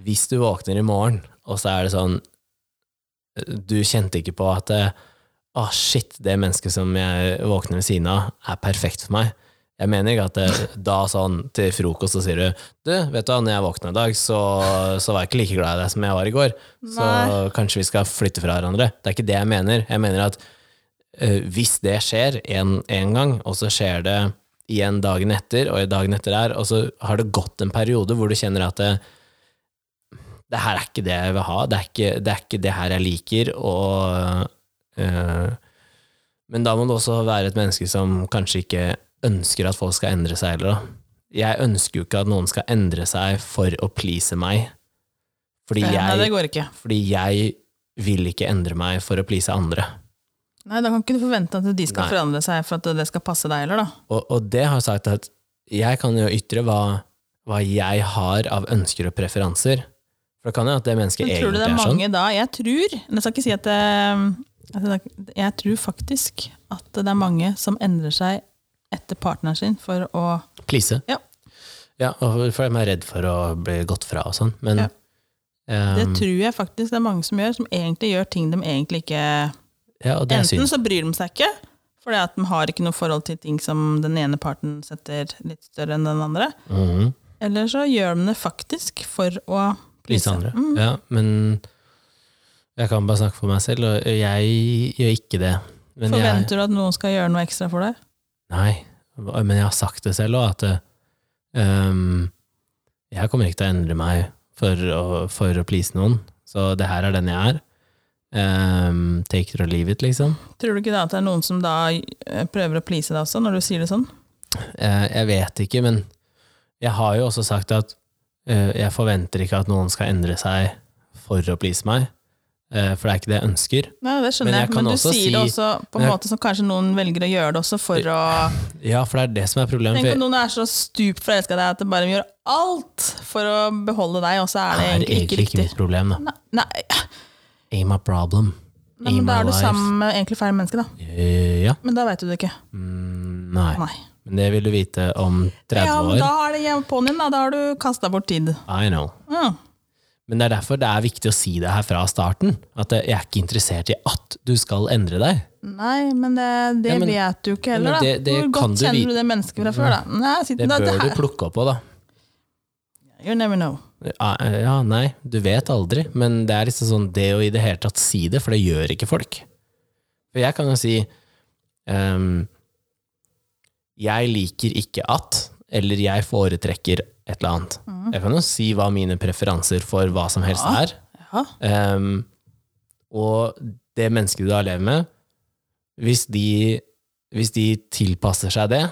hvis du våkner i morgen, og så er det sånn eh, Du kjente ikke på at eh, Å, shit, det mennesket som jeg våkner ved siden av, er perfekt for meg. Jeg mener ikke at det, da sånn til frokost så sier du Du, vet du hva, når jeg våkna i dag, så, så var jeg ikke like glad i deg som jeg var i går. Så Nei. kanskje vi skal flytte fra hverandre. Det er ikke det jeg mener. Jeg mener at eh, hvis det skjer en, en gang, og så skjer det igjen dagen etter, og dagen etter der, og så har det gått en periode hvor du kjenner at det, det her er ikke det jeg vil ha, det er ikke det, er ikke det her jeg liker, og eh, Men da må det også være et menneske som kanskje ikke ønsker at folk skal endre seg heller, da. Jeg ønsker jo ikke at noen skal endre seg for å please meg, fordi Ja, Eh, Nei, det jeg, går ikke. fordi jeg vil ikke endre meg for å please andre. Nei, Da kan ikke du forvente at de skal Nei. forandre seg for at det skal passe deg heller, da. Og, og det har sagt at jeg kan jo ytre hva, hva jeg har av ønsker og preferanser. For det kan jo at det mennesket Men tror egentlig du det er, er sånn. mange da? Jeg tror men Jeg skal ikke si at eh, altså, det at det- Jeg tror faktisk at det er mange som endrer seg etter partneren sin for å Please. Ja. Ja, og for de er redd for å bli gått fra og sånn. Men Ja. Det ehm, tror jeg faktisk det er mange som gjør, som egentlig gjør ting de egentlig ikke ja, og det er Enten synd. så bryr de seg ikke, fordi at de har ikke noe forhold til ting som den ene parten setter litt større enn den andre, Mhm. eller så gjør de det faktisk for å Please andre. Mm. Ja, men jeg kan bare snakke for meg selv, og jeg gjør ikke det. Men jeg, Forventer du at noen skal gjøre noe ekstra for deg? nei, men jeg har sagt det selv òg, at ehm, jeg kommer ikke til å endre meg for å, for å please noen. Så det her er den jeg er. Ehm, take it or leave it, liksom. Tror du ikke da at det er noen som da eh, prøver å please deg også, når du sier det sånn? Eh, jeg vet ikke, men jeg har jo også sagt at eh, jeg forventer ikke at noen skal endre seg for å please meg, eh, for det er ikke det jeg ønsker. Nei, det skjønner Men jeg jeg, kan men du også sier det si- også på en jeg- måte som kanskje noen velger å gjøre det også for å Ja, for det er det som er problemet. Tenk for- om noen er så stupt forelska i deg at de bare gjør alt for å beholde deg, og så er det er egentlig ikke egentlig ikke riktig. mitt problem, da. Nei, nei, Aim a problem. nei, men Aim da my er du life. sammen med egentlig feil menneske, da. Eh, ja. Men da veit du det ikke. Mm, nei. Nei. Men det vil du vite om 30 Ja, men år. da er det hjemme på'n din, da. Da har du kasta bort tid. I know. Ja. Men det er derfor det er viktig å si det her fra starten. At jeg er ikke interessert i at du skal endre deg. Nei, men det, det Ja, men- vet du ikke Ja, heller, men da. det- det Hvor kan godt du kjenner vite. du det mennesket fra før, da? Nei, Det sitter, da, bør du her. plukke opp på, da. [LAUGHS] You never know. Ja, Ah, eh, ja, nei, du vet aldri. Men det er liksom sånn det å i det hele tatt si det, for det gjør ikke folk. For jeg kan jo si ehm, Jeg liker ikke at, eller jeg foretrekker et eller annet. Jeg kan jo si hva mine preferanser for hva som helst Ja. er. Ja. Ehm, og det mennesket du da lever med, hvis de, hvis de tilpasser seg det,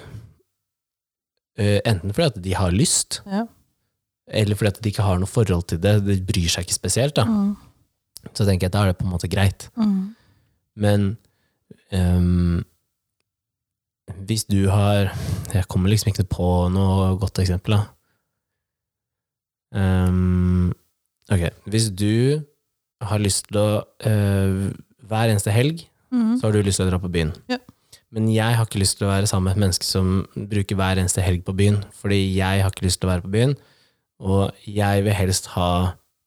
eh, enten fordi at de har lyst, Ja. eller fordi at de ikke har noe forhold til det, de bryr seg ikke spesielt, da, Mm. så tenker jeg at da er det på en måte greit. Mm. Men ehm, hvis du har Jeg kommer liksom ikke på noe godt eksempel, da. Ehm, ok, hvis du har lyst til å eh, Hver eneste helg Mm. så har du lyst til å dra på byen. Ja. Men jeg har ikke lyst til å være sammen med et menneske som bruker hver eneste helg på byen, fordi jeg har ikke lyst til å være på byen, og jeg vil helst ha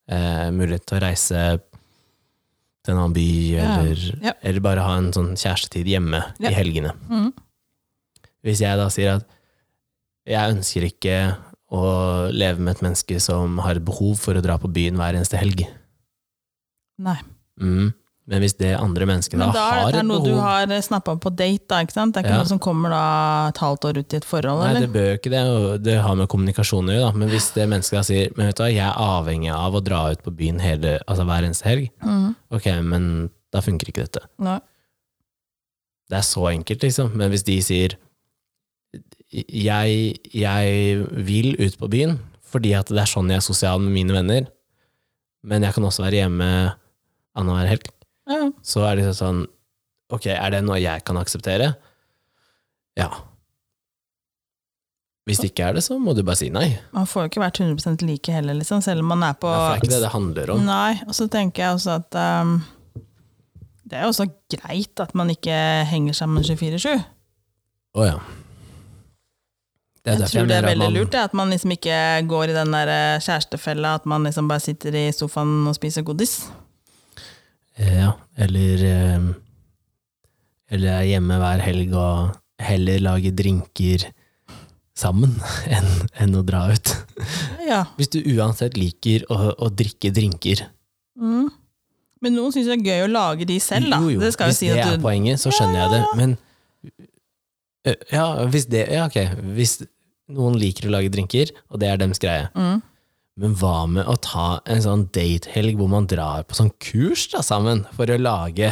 eh, mulighet til å reise til en annen by, Ja. eller, Ja. eller bare ha en sånn kjærestetid hjemme Ja. i helgene. Mm. Hvis jeg da sier at jeg ønsker ikke å leve med et menneske som har et behov for å dra på byen hver eneste helg. Nei. Mm. Men hvis det andre mennesket da, Men da er har dette et noe behov du har snappa på date, da, ikke sant? Det er ikke Ja. noe som kommer da et halvt år ut i et forhold, Nei, eller? det bør jo ikke det, og det har med kommunikasjon å gjøre, da. Men hvis det mennesket da sier Men vet du hva, jeg er avhengig av å dra ut på byen hele, altså hver eneste helg, Mm. ok, men da funker ikke dette. Nei. Det er så enkelt, liksom. Men hvis de sier jeg, jeg vil ut på byen fordi at det er sånn jeg er sosial med mine venner, men jeg kan også være hjemme annenhver helg, Ja. så er det liksom sånn Ok, er det noe jeg kan akseptere? Ja. Hvis det ikke er det, så må du bare si nei. Man får jo ikke vært 100 like heller, liksom, selv om man er på Nei, for det er ikke det det handler om. Nei, og så tenker jeg også at um, det er jo også greit at man ikke henger sammen 24-7. Å ja. Det er derfor Jeg jeg tror det er mener at veldig man- lurt, det, at man liksom ikke går i den der eh, kjærestefella, at man liksom bare sitter i sofaen og spiser godis. Eh, Ja, eller eh, Eller er hjemme hver helg og heller lage drinker sammen [LAUGHS] enn enn å dra ut. Ja. Hvis du uansett liker å, å drikke drinker Mm. Men noen syns det er gøy å lage de selv, da. Jo, jo, Det skal jo Hvis si det at er du poenget, så skjønner jeg det. Men eh, ja, hvis det Ja, ok. Hvis noen liker å lage drinker, og det er dems greie, mm. Men hva med å ta en sånn datehelg hvor man drar på sånn kurs da sammen for å lage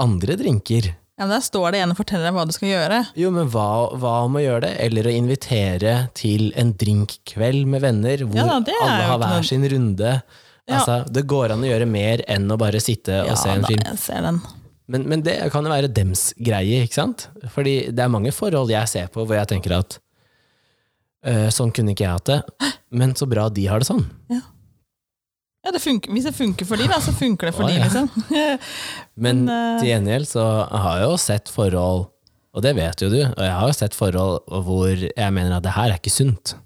andre drinker? Ja, men Der står det en og forteller deg hva du skal gjøre. Jo, men hva, hva om å gjøre det? Eller å invitere til en drinkkveld med venner hvor Ja da, det er alle jo har ikke noe- hver sin runde? Ja. Altså, det går an å gjøre mer enn å bare sitte og Ja, se en da, film. jeg ser den. Men, men det kan jo være dems greie, ikke sant? Fordi det er mange forhold jeg ser på hvor jeg tenker at øh, sånn kunne ikke jeg hatt det, men så bra de har det sånn. Ja, det funker, Hvis det funker for de, da, så funker det for Å, de, ja. liksom. [LAUGHS] Men Men, eh, til gjengjeld så har jeg jo sett forhold, og det vet jo du, og jeg har jo sett forhold hvor jeg mener at det her er ikke sunt.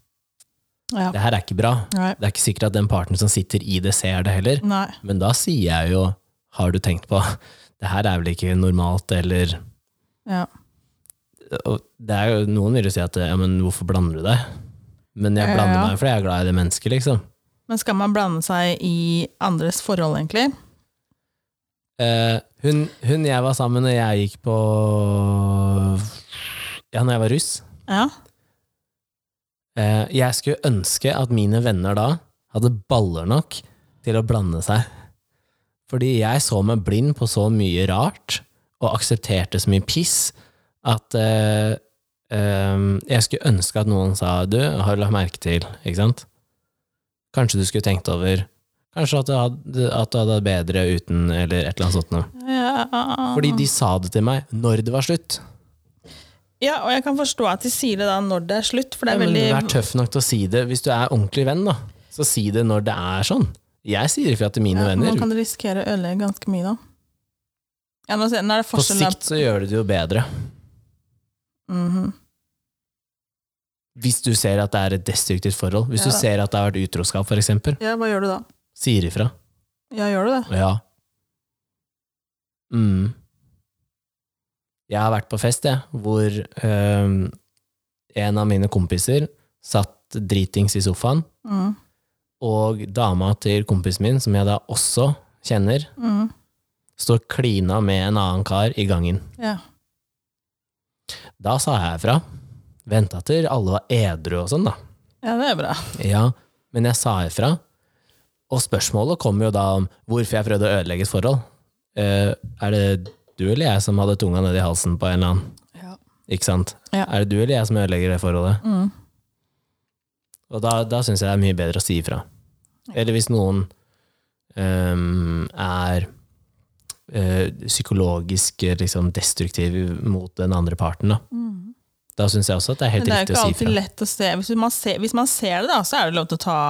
ja. Det her er ikke bra. Nei. Det er ikke sikkert at den parten som sitter i det, ser det heller. Nei. Men da sier jeg jo, har du tenkt på, det her er vel ikke normalt, eller Ja. og det er jo, Noen vil jo si at ja, men hvorfor blander du deg? Men jeg blander Ja. meg fordi jeg er glad i det mennesket, liksom. Men skal man blande seg i andres forhold, egentlig? Eh, hun, hun jeg var sammen med når jeg gikk på Ja, når jeg var russ, Ja. Eh, jeg skulle ønske at mine venner da hadde baller nok til å blande seg. Fordi jeg så meg blind på så mye rart, og aksepterte så mye piss, at eh, ehm, jeg skulle ønske at noen sa du, har du lagt merke til, ikke sant? Kanskje du skulle tenkt over Kanskje at du hadde, at du hadde det bedre uten, eller et eller annet sånt noe. ja. Fordi de sa det til meg når det var slutt. Ja, og jeg kan forstå at de sier det da når det er slutt, for Ja, det er men Vær veldig tøff nok til å si det. Hvis du er ordentlig venn, da, så si det når det er sånn. Jeg sier ifra til mine Ja, Man venner. kan risikere å ødelegge ganske mye, da. Ja, nå, ser, nå er det På forskjell da. sikt så gjør det det jo bedre. Mhm. Hvis du ser at det er et destruktivt forhold. Hvis Ja du da. ser at det har vært utroskap, for eksempel. Ja, hva gjør du da? Sier ifra. Ja, gjør du det? Ja. Mm. Jeg har vært på fest, jeg, hvor øhm, en av mine kompiser satt dritings i sofaen, Mhm. og dama til kompisen min, som jeg da også kjenner, Mhm. står klina med en annen kar i gangen. Ja. Da sa jeg ifra. Venta til alle var edru og sånn, da. ja, det er bra. Ja, men jeg sa ifra. Og spørsmålet kom jo da om hvorfor jeg prøvde å ødelegge et forhold. Eh, er det du eller jeg som hadde tunga nedi halsen på en eller annen? Ja. Ikke sant? Ja. Er det du eller jeg som ødelegger det forholdet? Mhm. Og da, da syns jeg det er mye bedre å si ifra. Eller hvis noen ehm, er eh, psykologisk eh, liksom, destruktiv mot den andre parten, da. Mhm. Da syns jeg også at det er Men helt det er jo riktig å ikke si alltid ifra. lett å se. Hvis man ser, hvis man ser det, da, så er det lov til å ta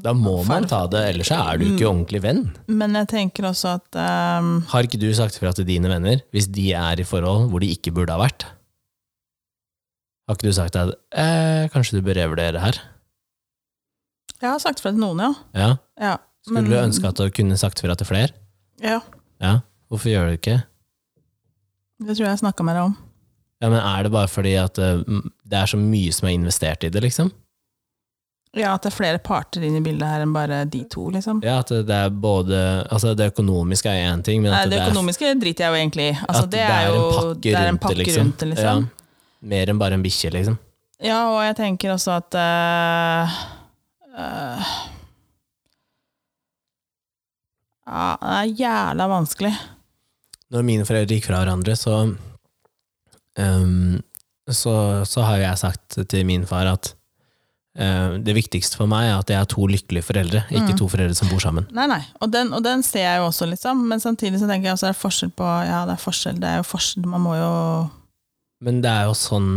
Da må man ta det, ellers så er du Mm. ikke ordentlig venn. Men jeg tenker også at ehm, Har ikke du sagt ifra til dine venner hvis de er i forhold hvor de ikke burde ha vært? Har ikke du sagt at eh, kanskje du bør revurdere her? Jeg har sagt fra til noen, ja. Ja. ja. Skulle men- du ønske at du kunne sagt ifra til flere? Ja, Ja. Hvorfor gjør du ikke? det tror jeg jeg snakka med deg om. Ja, men Er det bare fordi at eh, m- det er så mye som er investert i det, liksom? Ja, at det er flere parter inn i bildet her enn bare de to, liksom. Ja, At eh, det er både Altså, det økonomiske er én ting, men Nei, at det det, er, økonomiske driter jeg jo egentlig i. Altså, at det er jo det er en pakke rundt det, liksom. Ja. Mer enn bare en bikkje, liksom. Ja. og jeg tenker også at eh, eh, ja, Det er jævla vanskelig. når mine foreldre gikk fra hverandre, så, ehm, så, så har jeg sagt til min far at ehm, det viktigste for meg er at jeg har to lykkelige foreldre, Mm. ikke to foreldre som bor sammen. Nei, nei. Og den, og den ser jeg jo også, liksom. Men samtidig så tenker jeg også det er forskjell på Ja, det er forskjell. Det er jo forskjell. Man må jo Men det er jo sånn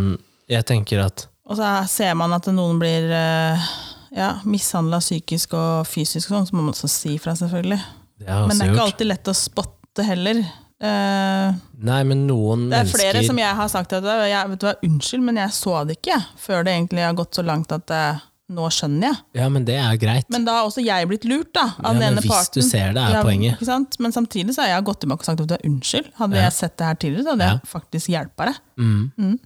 Jeg tenker at Og så ser man at noen blir eh, ja, mishandla psykisk og fysisk, og sånn, så må man også si fra, selvfølgelig. det har jeg Men det også er ikke gjort. alltid lett å spotte heller. Eh, Nei, men noen det er flere mennesker som jeg har sagt at jeg, vet du hva, unnskyld, men jeg så det ikke, jeg, før det egentlig har gått så langt at eh, nå skjønner jeg. Ja, men det er greit. Men da har også jeg blitt lurt, da, ja, av den men ene hvis parten. du ser det, er Ja, poenget. Ikke sant? Men samtidig så har jeg gått tilbake og sagt at du er unnskyld. Hadde jeg sett det her tidligere, så hadde jeg faktisk hjulpet deg. Mm.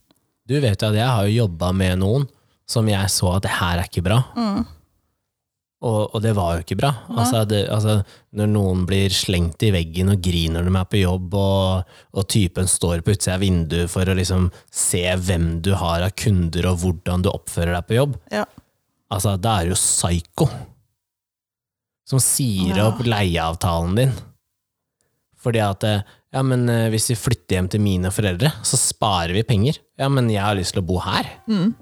Du vet jo at jeg har jo jobba med noen som jeg så at det her er ikke bra. Mm, Og, og det var jo ikke bra. Altså, det, altså, når noen blir slengt i veggen og griner når de er på jobb, og, og typen står på utsida av vinduet for å liksom se hvem du har av kunder, og hvordan du oppfører deg på jobb, Ja. altså, da er det jo psyko. Som sier Ja. opp leieavtalen din. Fordi at eh, ja, men eh, hvis vi flytter hjem til mine foreldre, så sparer vi penger. Ja, men jeg har lyst til å bo her. Mm.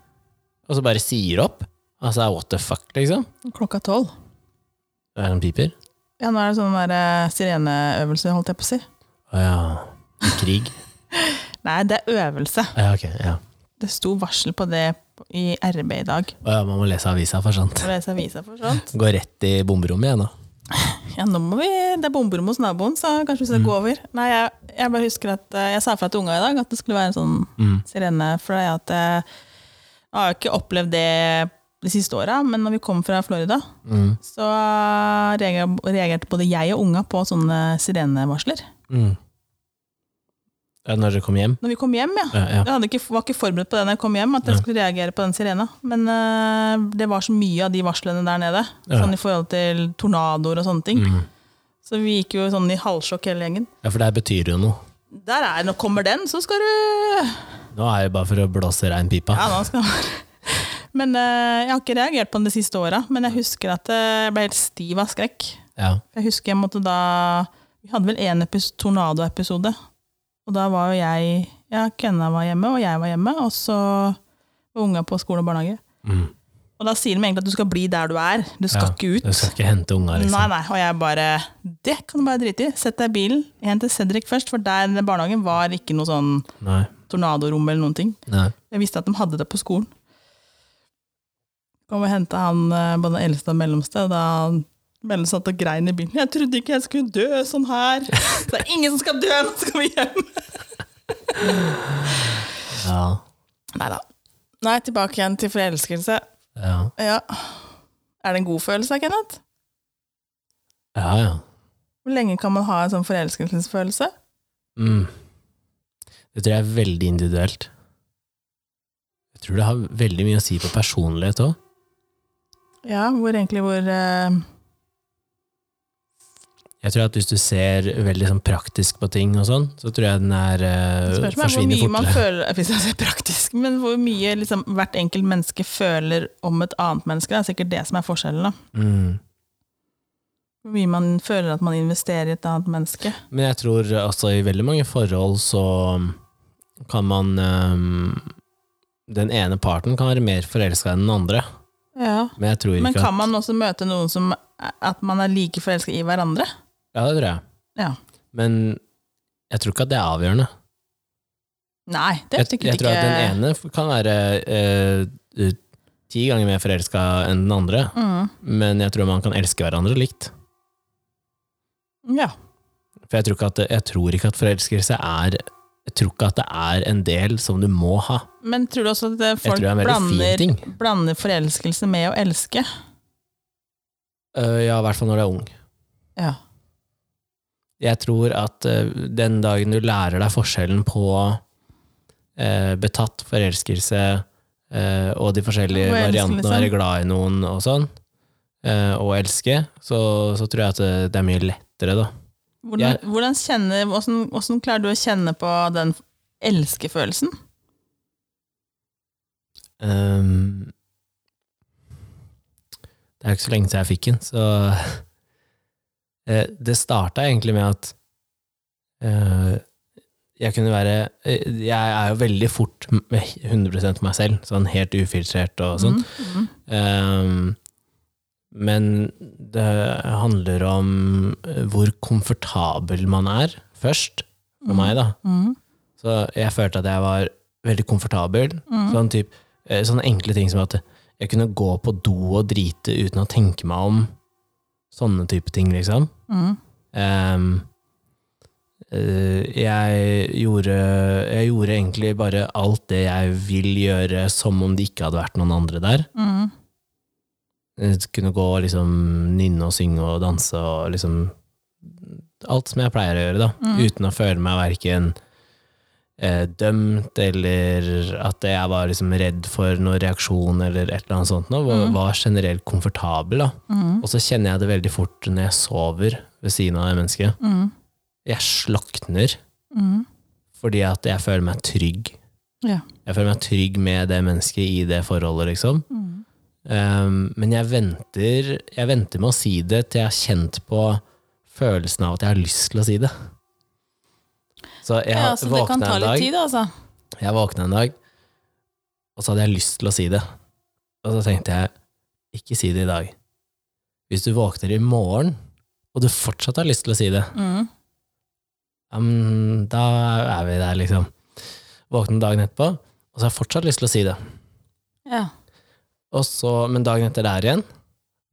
Og så bare sier opp. Altså, what the fuck, liksom. Klokka tolv. Det er en piper. Ja, nå er det sånn der eh, sireneøvelse, holdt jeg på å si. Å ja. Krig. [LAUGHS] Nei, det er øvelse. Ja, ok. Ja. Det sto varsel på det på- i RB i dag. Å ja, man må lese avisa for sånt. Å lese avisa for sånt. Gå rett i bomberommet igjen, da. Ja, nå må vi, det er bomberom hos naboen, så kanskje vi Mm. skal gå over. Nei, jeg, jeg bare husker at eh, jeg sa fra til unga i dag at det skulle være en sånn sirene. For det er at eh, jeg har jo ikke opplevd det de siste åra, men når vi kom fra Florida, Mm. så eh, reager- reagerte både jeg og unga på sånne sirenevarsler. Mm. Ja, når dere kom hjem? Når vi kom hjem, ja. Ja, ja. Jeg hadde ikke, var ikke forberedt på det når jeg kom hjem, at jeg skulle reagere på den sirena. Men eh, det var så mye av de varslene der nede, Ja. sånn i forhold til tornadoer og sånne ting. Mm. Så vi gikk jo sånn i halvsjokk hele gjengen. ja, for det her betyr jo noe. Der er, nå kommer den, så skal du Nå er det bare for å blåse reinpipa. Ja, nå skal [LAUGHS] han Men eh, jeg har ikke reagert på den de siste åra, men jeg husker at eh, jeg ble helt stiv av skrekk. Ja. Jeg husker jeg måtte da Vi hadde vel en epis- tornadoepisode. Og da var jo jeg Ja, Kenna var hjemme, og jeg var hjemme, og så var unga på skole og barnehage. Mm. Og da sier de egentlig at du skal bli der du er. Du skal Ja, ikke ut. Du skal ikke hente unga, Nei, liksom. nei. Og jeg bare Det kan du bare drite i. Sett deg i bilen. Hent til Cedric først, for der den barnehagen var ikke noe sånn Nei. tornadorom eller noen ting. Nei. Jeg visste at de hadde det på skolen. Kom og henta han eh, både den eldste og mellomste, og da han mellom satt og grein i bilen. Jeg trodde ikke jeg skulle dø sånn her. Det er ingen som skal dø, nå skal vi hjem. Ja. Nei da. Nei, tilbake igjen til forelskelse. Ja. Ja. Er det en god følelse, Kenneth? Ja, ja. Hvor lenge kan man ha en sånn forelskelsesfølelse? Mm. Det tror jeg er veldig individuelt. Jeg tror det har veldig mye å si på personlighet òg. Ja, hvor egentlig hvor eh, Jeg tror at hvis du ser veldig sånn praktisk på ting og sånn, så tror jeg den er eh, Spørs meg hvor forsvinner mye man fortere. føler Hvis jeg ser praktisk, men hvor mye liksom, hvert enkelt menneske føler om et annet menneske. Det er sikkert det som er forskjellen. da. [LAUGHS] Mm. Hvor mye man føler at man investerer i et annet menneske. Men jeg tror altså i veldig mange forhold så um, kan man eh, Den ene parten kan være mer forelska enn den andre, Ja. men jeg tror ikke Men kan at man også møte noen som at man er like forelska i hverandre? Ja, det tror jeg. Ja. Men jeg tror ikke at det er avgjørende. Nei, det er Jeg, sikkert jeg tror ikke at den ene kan være eh, eh, ti ganger mer forelska enn den andre, mm. men jeg tror man kan elske hverandre likt. Ja. For jeg tror ikke at, jeg tror ikke at forelskelse er Jeg tror ikke at det er en del som du må ha. Men tror du også at eh, Jeg folk tror det er en veldig fin blander, ting. blander forelskelse med å elske? Eh, ja, i hvert fall når du er ung. Ja. Jeg tror at eh, den dagen du lærer deg forskjellen på eh, betatt forelskelse eh, og de forskjellige Og elske, variantene å liksom. være glad i noen og sånn, eh, og elske, så, så tror jeg at eh, det- det er mye lettere, da. Hvordan, hvordan, kjenner, hvordan, hvordan klarer du å kjenne på den elskefølelsen? Ehm, det er jo ikke så lenge siden jeg fikk den, så [LAUGHS] eh, Det starta egentlig med at eh, jeg kunne være eh, Jeg er jo veldig fort m- 100 meg selv, sånn helt ufiltrert og sånn. Mm, Ehm, men det handler om eh, hvor komfortabel man er, først, for Mm. meg, da. mm, Så jeg følte at jeg var veldig komfortabel. mm, Sånn typ, eh, sånne enkle ting som at jeg kunne gå på do og drite uten å tenke meg om. Sånne type ting, liksom. mm, Ehm, eh, jeg, gjorde, jeg gjorde egentlig bare alt det jeg vil gjøre, som om det ikke hadde vært noen andre der. mm. Jeg Eh, kunne gå og liksom nynne og synge og danse og liksom Alt som jeg pleier å gjøre, da. Mm. Uten å føle meg verken eh, dømt eller at jeg var liksom redd for noen reaksjon eller et eller annet sånt. Nå. Var, Mm. var generelt komfortabel, da. Mm, Og så kjenner jeg det veldig fort når jeg sover ved siden av det mennesket. mm, Jeg slakner mm. fordi at jeg føler meg trygg. Ja. Jeg føler meg trygg med det mennesket i det forholdet, liksom. Mm. Um, men jeg venter, jeg venter med å si det til jeg har kjent på følelsen av at jeg har lyst til å si det. Så jeg Ja, så det kan våkna ta en litt dag, tid, altså. jeg våkna en dag, og så hadde jeg lyst til å si det. Og så tenkte jeg, ikke si det i dag. Hvis du våkner i morgen, og du fortsatt har lyst til å si det, Mm. ja, men da er vi der, liksom. Våkne dagen etterpå, og så har jeg fortsatt lyst til å si det. Ja. Og så, men dagen etter der igjen,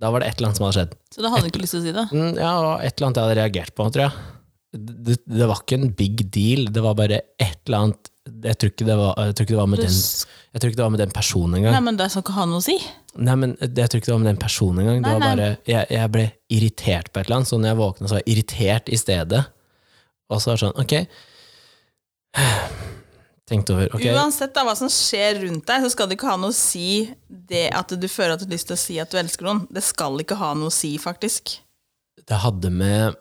da var det et eller annet som hadde skjedd. Så da hadde du ikke lyst til å si det? Mm, Ja, det var et eller annet jeg hadde reagert på, tror jeg. Det, det var ikke en big deal, det var bare et eller annet Jeg tror ikke det var, jeg tror ikke det var, med, Du den, s- jeg tror ikke det var med den personen engang. Nei, men det skal ikke ha noe å si. Nei, men jeg tror ikke det var med den personen engang. Det Nei, var nei. bare, jeg, jeg ble irritert på et eller annet, så når jeg våkna, så var jeg irritert i stedet. Og så var det sånn, ok [SIGHS] Tenkte over, ok Uansett da, hva som skjer rundt deg, så skal det ikke ha noe å si det at du føler at du har lyst til å si at du elsker noen. Det skal ikke ha noe å si, faktisk. Det hadde med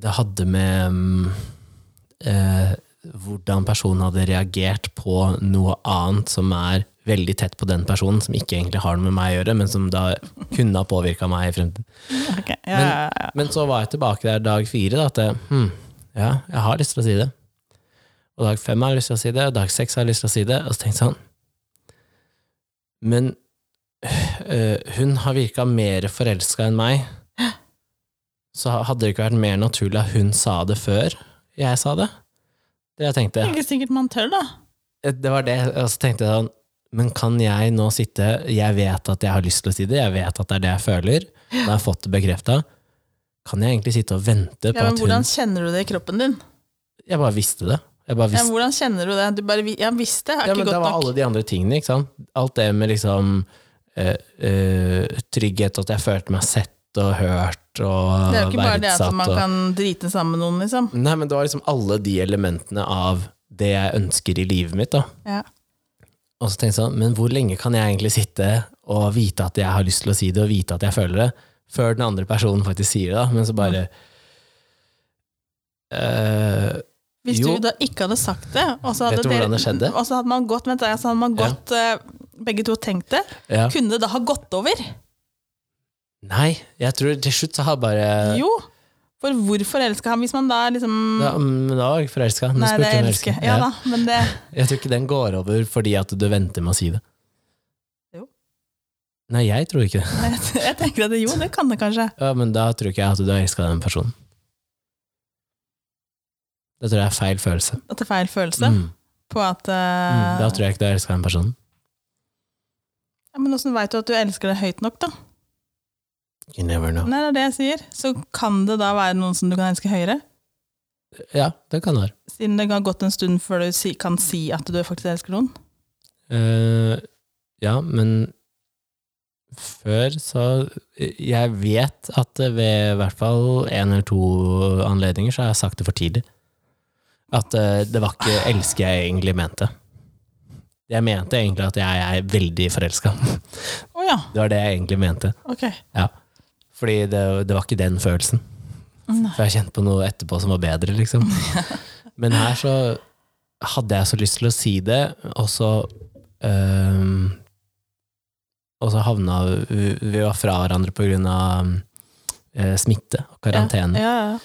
Det hadde med mm, eh, hvordan personen hadde reagert på noe annet som er veldig tett på den personen, som ikke egentlig har noe med meg å gjøre, men som da kunne ha påvirka meg i fremtiden. Ok, ja, ja, ja. Men så var jeg tilbake der dag fire, da, at jeg, hm, ja, jeg har lyst til å si det. Og dag fem har jeg lyst til å si det, og dag seks har jeg lyst til å si det. Og så tenkte jeg sånn Men øh, hun har virka mer forelska enn meg. Så hadde det ikke vært mer naturlig at hun sa det før jeg sa det. Det jeg tenkte. Det er ikke sikkert man tør, da. Eh, Det var det, og så tenkte jeg sånn Men kan jeg nå sitte Jeg vet at jeg har lyst til å si det, jeg vet at det er det jeg føler. Nå har jeg fått det bekrefta. Kan jeg egentlig sitte og vente på Ja, men at hun hvordan kjenner du det i kroppen din? Jeg bare visste det. Jeg bare Ja, visste, hvordan kjenner du det? Du bare, vi- jeg visste, det er ja, ikke men det godt var nok. alle de andre tingene, ikke sant? Alt det med liksom eh, eh, trygghet, at jeg følte meg sett og hørt og Ah, verdsatt. Det er jo ikke bare det at man og- kan drite sammen med noen, liksom. Nei, men det var liksom alle de elementene av det jeg ønsker i livet mitt, da. Ja. Og så tenkte jeg sånn, men hvor lenge kan jeg egentlig sitte og vite at jeg har lyst til å si det, og vite at jeg føler det, før den andre personen faktisk sier det, da. Men så bare eh, Hvis Jo. du da ikke hadde sagt det, og så hadde, Vet du hvordan det skjedde? og så hadde man gått, vent, da, så hadde man Ja. gått eh, begge to tenkt det, ja. kunne det da ha gått over? Nei, jeg tror til slutt så har bare Jo! For hvor forelska han hvis man da liksom Eh, ja, men da var jeg ikke forelska. Nå Nei, spurte det hun elsker elsker. jeg. Ja da, men det Jeg tror ikke den går over fordi at du venter med å si det. Jo. Nei, jeg tror ikke det. jeg, jeg tenker at det, jo, det kan det kanskje. Ja, men da tror ikke jeg at du har elska den personen. Det tror jeg er feil følelse. At det er feil følelse Mm. på at Mm. eh, Da tror jeg ikke du har elska den personen. ja, Men åssen veit du at du elsker det høyt nok, da? You never know. Nei, det er det jeg sier. Så kan det da være noen som du kan elske høyere? Ja, det kan det være. Siden det har gått en stund før du si, kan si at du faktisk elsker noen? Eh, ja, men før så Jeg vet at ved i hvert fall én eller to anledninger så har jeg sagt det for tidlig. At eh, det var ikke 'elsker jeg egentlig' mente. Jeg mente egentlig at jeg er veldig forelska. Å ja, [LAUGHS] Det var det jeg egentlig mente. ok. Fordi det, det var ikke den følelsen. Nei. For jeg kjente på noe etterpå som var bedre, liksom. Men her så hadde jeg så lyst til å si det, og så øhm, Og så havna vi Vi var fra hverandre på grunn av øh, smitte og karantene. Ja, ja, ja.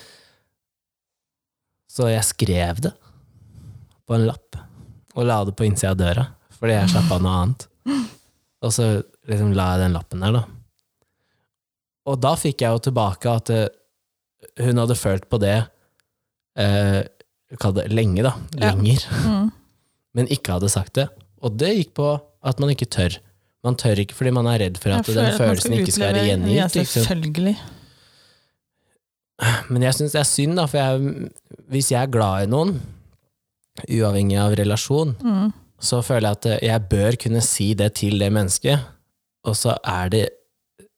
Så jeg skrev det på en lapp og la det på innsida av døra, fordi jeg slapp av noe annet. Og så liksom la jeg den lappen der, da. Og da fikk jeg jo tilbake at eh, hun hadde følt på det eh, kall det lenge, da. Ja. Lenger. Mm. Men ikke hadde sagt det. Og det gikk på at man ikke tør. Man tør ikke fordi man er redd for at Jeg føler den at man følelsen ikke skal være utlevere- Ja, gjengitt. Liksom. selvfølgelig. Men jeg syns det er synd, da, for jeg, hvis jeg er glad i noen, uavhengig av relasjon, Mm. så føler jeg at eh, jeg bør kunne si det til det mennesket, og så er det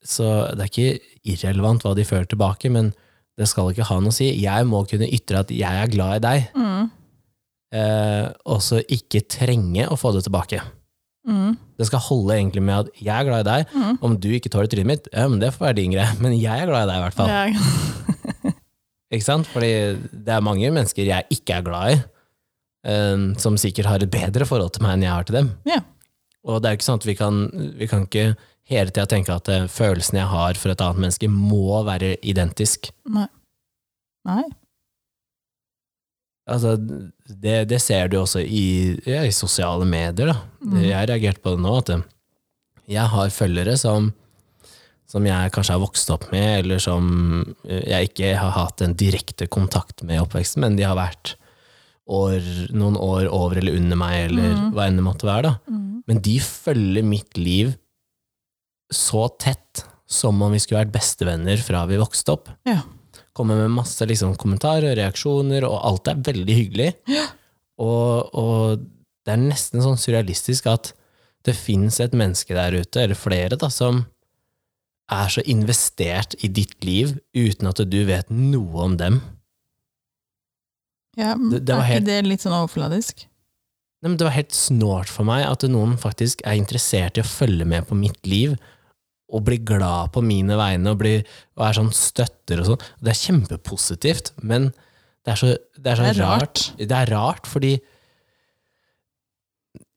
Så det er ikke irrelevant hva de føler tilbake, men det skal ikke ha noe å si. Jeg må kunne ytre at jeg er glad i deg, Mm. eh, og så ikke trenge å få det tilbake. Mm. Det skal holde egentlig med at jeg er glad i deg, Mm. om du ikke tåler trynet mitt, ja, men det får være din greie, [LAUGHS] men jeg er glad i deg i hvert fall. Ja. Ikke sant? Fordi det er mange mennesker jeg ikke er glad i, eh, som sikkert har et bedre forhold til meg enn jeg har til dem. Ja. Og det er jo ikke sånn at vi kan, vi kan ikke hele tida tenke at eh, følelsen jeg har for et annet menneske, må være identisk. Nei. Nei. Altså, det, det ser du jo også i, ja, i sosiale medier. Da. Mm. Jeg reagerte på det nå, at eh, jeg har følgere som, som jeg kanskje har vokst opp med, eller som eh, jeg ikke har hatt en direkte kontakt med i oppveksten, men de har vært år, noen år over eller under meg, eller Mm. hva enn det måtte være. Da. Mm. Men de følger mitt liv så tett som om vi skulle vært bestevenner fra vi vokste opp. Ja. Kommer med masse liksom, kommentarer og reaksjoner, og alt er veldig hyggelig. Ja. Og, og det er nesten sånn surrealistisk at det fins et menneske der ute, eller flere, da, som er så investert i ditt liv uten at du vet noe om dem. Ja, mm. Det- det var er helt- ikke det litt sånn overfladisk? Nei, men det var helt snålt for meg at noen faktisk er interessert i å følge med på mitt liv, og blir glad på mine vegne, og, blir, og er sånn støtter og sånn. Det er kjempepositivt, men Det er så, det er så Det er rart. rart. Det er rart, fordi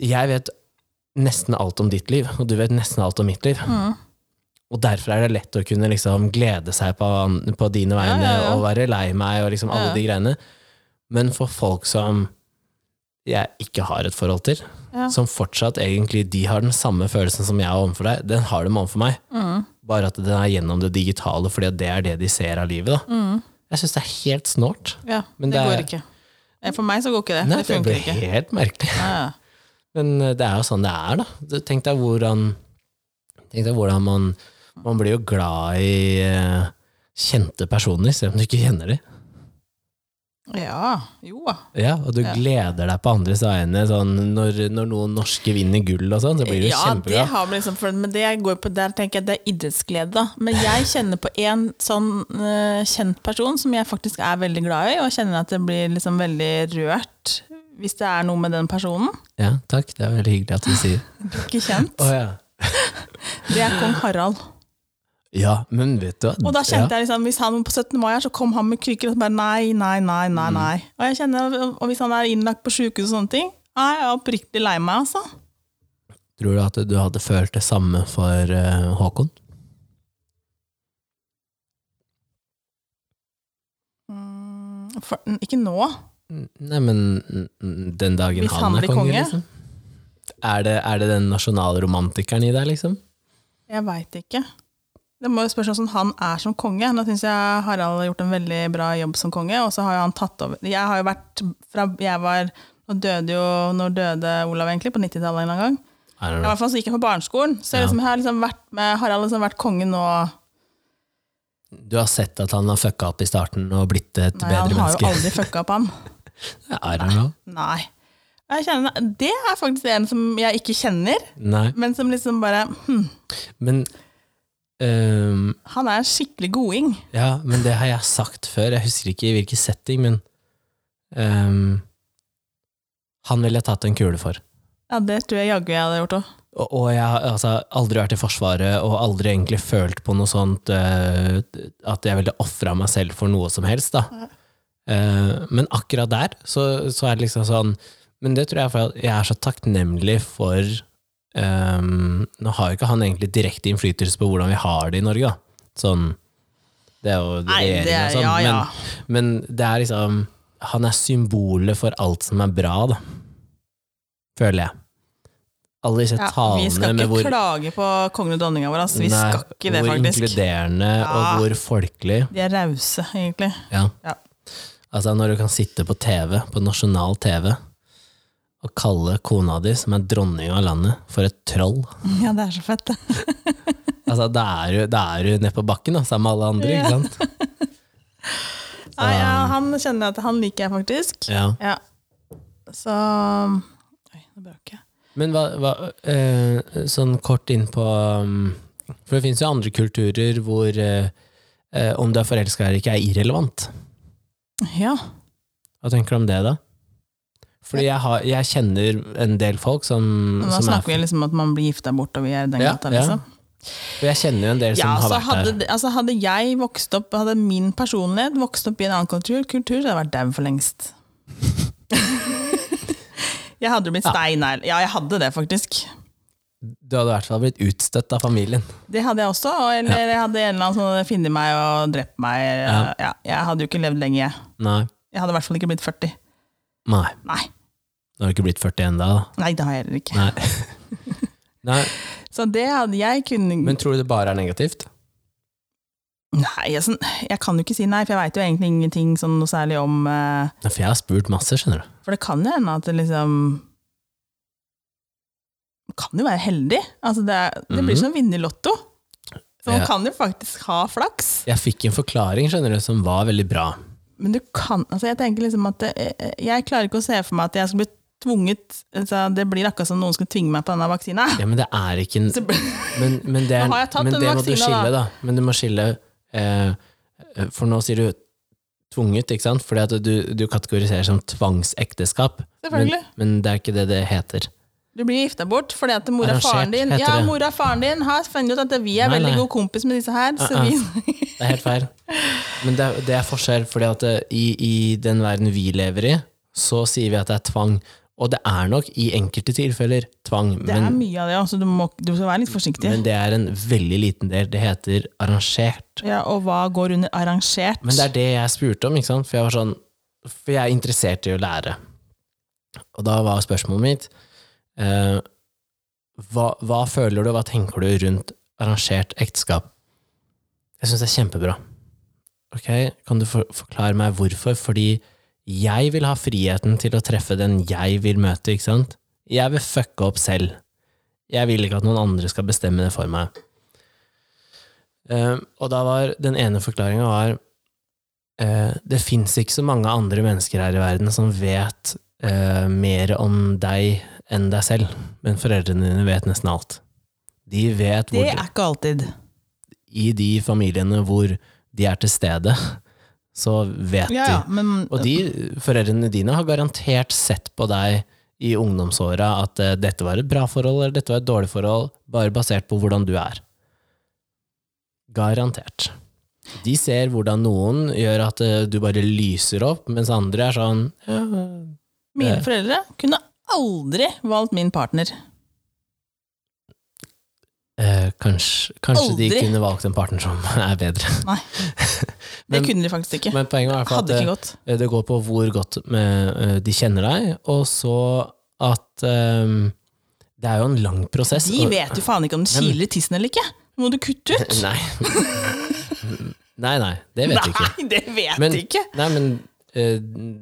jeg vet nesten alt om ditt liv, og du vet nesten alt om mitt liv. Mm. Og derfor er det lett å kunne liksom glede seg på, an- på dine vegne ja, ja. og være lei meg og liksom alle Ja. de greiene. Men for folk som jeg ikke har et forhold til, Ja. som fortsatt egentlig de har den samme følelsen som jeg har overfor deg, den har de overfor meg. Mm. Bare at den er gjennom det digitale, fordi at det er det de ser av livet. Da. Mm. Jeg syns det er helt snålt. Ja, Men det, det er- går ikke. Eh, For meg så går ikke det. Nei, det det funker blir ikke. helt merkelig. Ja, ja. Men eh, det er jo sånn det er, da. Du- Tenk deg hvordan, tenk deg hvordan man, man blir jo glad i eh, kjente personer, selv om du ikke kjenner dem. ja, jo da. Ja, og du Ja. gleder deg på andres vegne. Sånn, når, når noen norske vinner gull og sånn, så blir du ja, det kjempeglad. har vi liksom, for, men det går på, der tenker jeg det er idrettsglede, da. Men jeg kjenner på en sånn eh, kjent person som jeg faktisk er veldig glad i, og kjenner at det blir liksom veldig rørt hvis det er noe med den personen. Ja, takk. Det er veldig hyggelig at du [LAUGHS] sier. Ikke kjent. Å ja. Det er kong Harald. ja, men vet du hva? Og da kjente jeg liksom, hvis han var på 17. mai her, så kom han med krykker og så bare nei, nei, nei, Mm. nei, nei. Og jeg kjenner, og hvis han er innlagt på sykehus og sånne ting, nei, jeg er oppriktig lei meg, altså. Tror du at du hadde følt det samme for eh, Håkon? Mm, For, ikke nå. Nei, men mm, mm, den dagen Hvis han er blir konge, konge? liksom. Er det, er det den nasjonalromantikeren i deg, liksom? Jeg veit ikke. Det må jo spørs hvordan han er som konge. Nå syns jeg Harald har gjort en veldig bra jobb som konge, og så har jo han tatt over Jeg har jo vært fra jeg var Nå døde jo Når døde Olav, egentlig? På 90-tallet en eller annen gang. I don't I know. hvert fall så gikk jeg på barneskolen, så jeg Ja. liksom, jeg har liksom vært med Harald har liksom vært konge nå Du har sett at han har fucka opp i starten og blitt et Nei, han bedre har jo menneske? aldri fucka opp, han. [LAUGHS] I don't know. Nei. Jeg kjenner, det er faktisk en som jeg ikke kjenner, Nei, men som liksom bare hm, men ehm, Han er en skikkelig goding. Ja, men det har jeg sagt før. Jeg husker ikke i hvilken setting, men ehm, Han ville jeg tatt en kule for. Ja, det tror jeg jaggu jeg hadde gjort òg. Og, og jeg har altså, aldri vært i Forsvaret og aldri egentlig følt på noe sånt eh, at jeg ville ofra meg selv for noe som helst. da. Eh, men akkurat der så, så er det liksom sånn Men det tror jeg for jeg er så takknemlig for ehm, Nå har jo ikke han egentlig direkte innflytelse på hvordan vi har det i Norge, da. Sånn, det er jo Nei, det regjeringen og er sånn. Ja, ja. Men, men det er liksom Han er symbolet for alt som er bra, da. Føler jeg. Alle disse Ja, vi talene skal med ikke hvor klage på kongen og dronninga vår. Altså. Vi Nei, skal ikke det, hvor faktisk. inkluderende Ja. og hvor folkelig. De er rause, egentlig. Ja. Ja. Altså, når du kan sitte på TV, på nasjonal TV, og kalle kona di, som er dronning av landet, for et troll Ja, det er så fett. det. Altså, Da er du, da er du nede på bakken, da, sammen med alle andre, Ja. ikke sant? Nei, ja, han kjenner jeg at han liker jeg faktisk. Ja. Ja. Så Oi, nå brakk jeg. Men hva, hva eh, Sånn kort inn på um, For det finnes jo andre kulturer hvor eh, eh, om du er forelska eller ikke, er irrelevant. Ja. Hva tenker du om det, da? Fordi jeg, har, jeg kjenner en del folk som, Nå som er snakker vi liksom at man blir gifta bort, og vi er i den Ja, gata, ja. liksom. For jeg kjenner jo en del som Ja, har altså, vært hadde, der. det- altså, hadde jeg vokst opp Hadde min personlighet vokst opp i en annen kultur, kultur så hadde jeg vært dau [LAUGHS] for lengst. jeg hadde jo blitt Ja. steinegl. Ja, jeg hadde det, faktisk. Du hadde i hvert fall blitt utstøtt av familien. Det hadde jeg også, og- eller jeg hadde en eller annen som hadde funnet meg og drept meg. Ja. Ja. jeg hadde jo ikke levd lenge, jeg. Nei. Jeg hadde i hvert fall ikke blitt 40. Nei. Nei, Du har ikke blitt 40 ennå, da. nei det har jeg heller ikke. [LAUGHS] Nei. Nei. Så det hadde jeg kunne Men tror du det bare er negativt? Nei, jeg, sånn, jeg kan jo ikke si nei, for jeg veit jo egentlig ingenting sånn noe særlig om eh, Nei, For jeg har spurt masse, skjønner du. For det kan jo hende at det liksom Man kan jo være heldig. Altså det, er, det blir Mhm. som å vinne i Lotto. Så man Ja. kan jo faktisk ha flaks. Jeg fikk en forklaring skjønner du, som var veldig bra. Men du kan altså Jeg tenker liksom at det, eh, jeg klarer ikke å se for meg at jeg skal bli tvunget altså Det blir akkurat som noen skulle tvinge meg på denne vaksina. [LAUGHS] Ja, Men det er ikke en Så blir- Men, men det, Nå har jeg tatt men den det må du vaksinen, skille, da. Men du må skille eh, For nå sier du tvunget, ikke sant? Fordi at du, du kategoriserer som tvangsekteskap. Men, Selvfølgelig. men det er ikke det det heter. Du blir gifta bort fordi at mora og Arrangert, faren din heter Ja, det. mora og faren din har funnet ut at vi er Nei, Ah, veldig nei. gode kompis med disse her, så Uh-uh. vi Det er helt feil. Men det, er- det er forskjell, fordi at eh, i, i den verden vi lever i, så sier vi at det er tvang. Og det er nok i enkelte tilfeller tvang, Det er men, mye av det, ja, så du, må, du skal være litt forsiktig. men det er en veldig liten del. Det heter arrangert. ja, og hva går under arrangert? Men det er det jeg spurte om, ikke sant? For jeg var sånn For jeg er interessert i å lære. Og da var spørsmålet mitt eh, hva, hva føler du, hva tenker du rundt arrangert ekteskap? Jeg syns det er kjempebra. Ok, kan du for forklare meg hvorfor? Fordi jeg vil ha friheten til å treffe den jeg vil møte, ikke sant? Jeg vil fucke opp selv. Jeg vil ikke at noen andre skal bestemme det for meg. Eh, og da var den ene forklaringa var eh, Det fins ikke så mange andre mennesker her i verden som vet eh, mer om deg enn deg selv, men foreldrene dine vet nesten alt. De vet hvor Det er ikke alltid. I de familiene hvor de er til stede, så vet Ja, ja, de. men Og de foreldrene dine har garantert sett på deg i ungdomsåra at eh, dette var et bra forhold eller dette var et dårlig forhold, bare basert på hvordan du er. Garantert. De ser hvordan noen gjør at eh, du bare lyser opp, mens andre er sånn ja, mine foreldre kunne aldri valgt min partner. eh, Kanskje, kanskje de Aldri. kunne valgt en partner som [LAUGHS] er bedre. Nei, det Men- kunne de faktisk ikke. Men poenget var i hvert fall at Hadde eh, ikke gått. Eh, Det går på hvor godt med, eh, de kjenner deg, og så at eh, Det er jo en lang prosess. De og- vet jo faen ikke om det kiler i tissen eller ikke! Må du kutte ut? Nei. nei, [LAUGHS] nei, [LAUGHS] det vet de ikke. Nei, det vet Men- de ikke! Nei, men eh,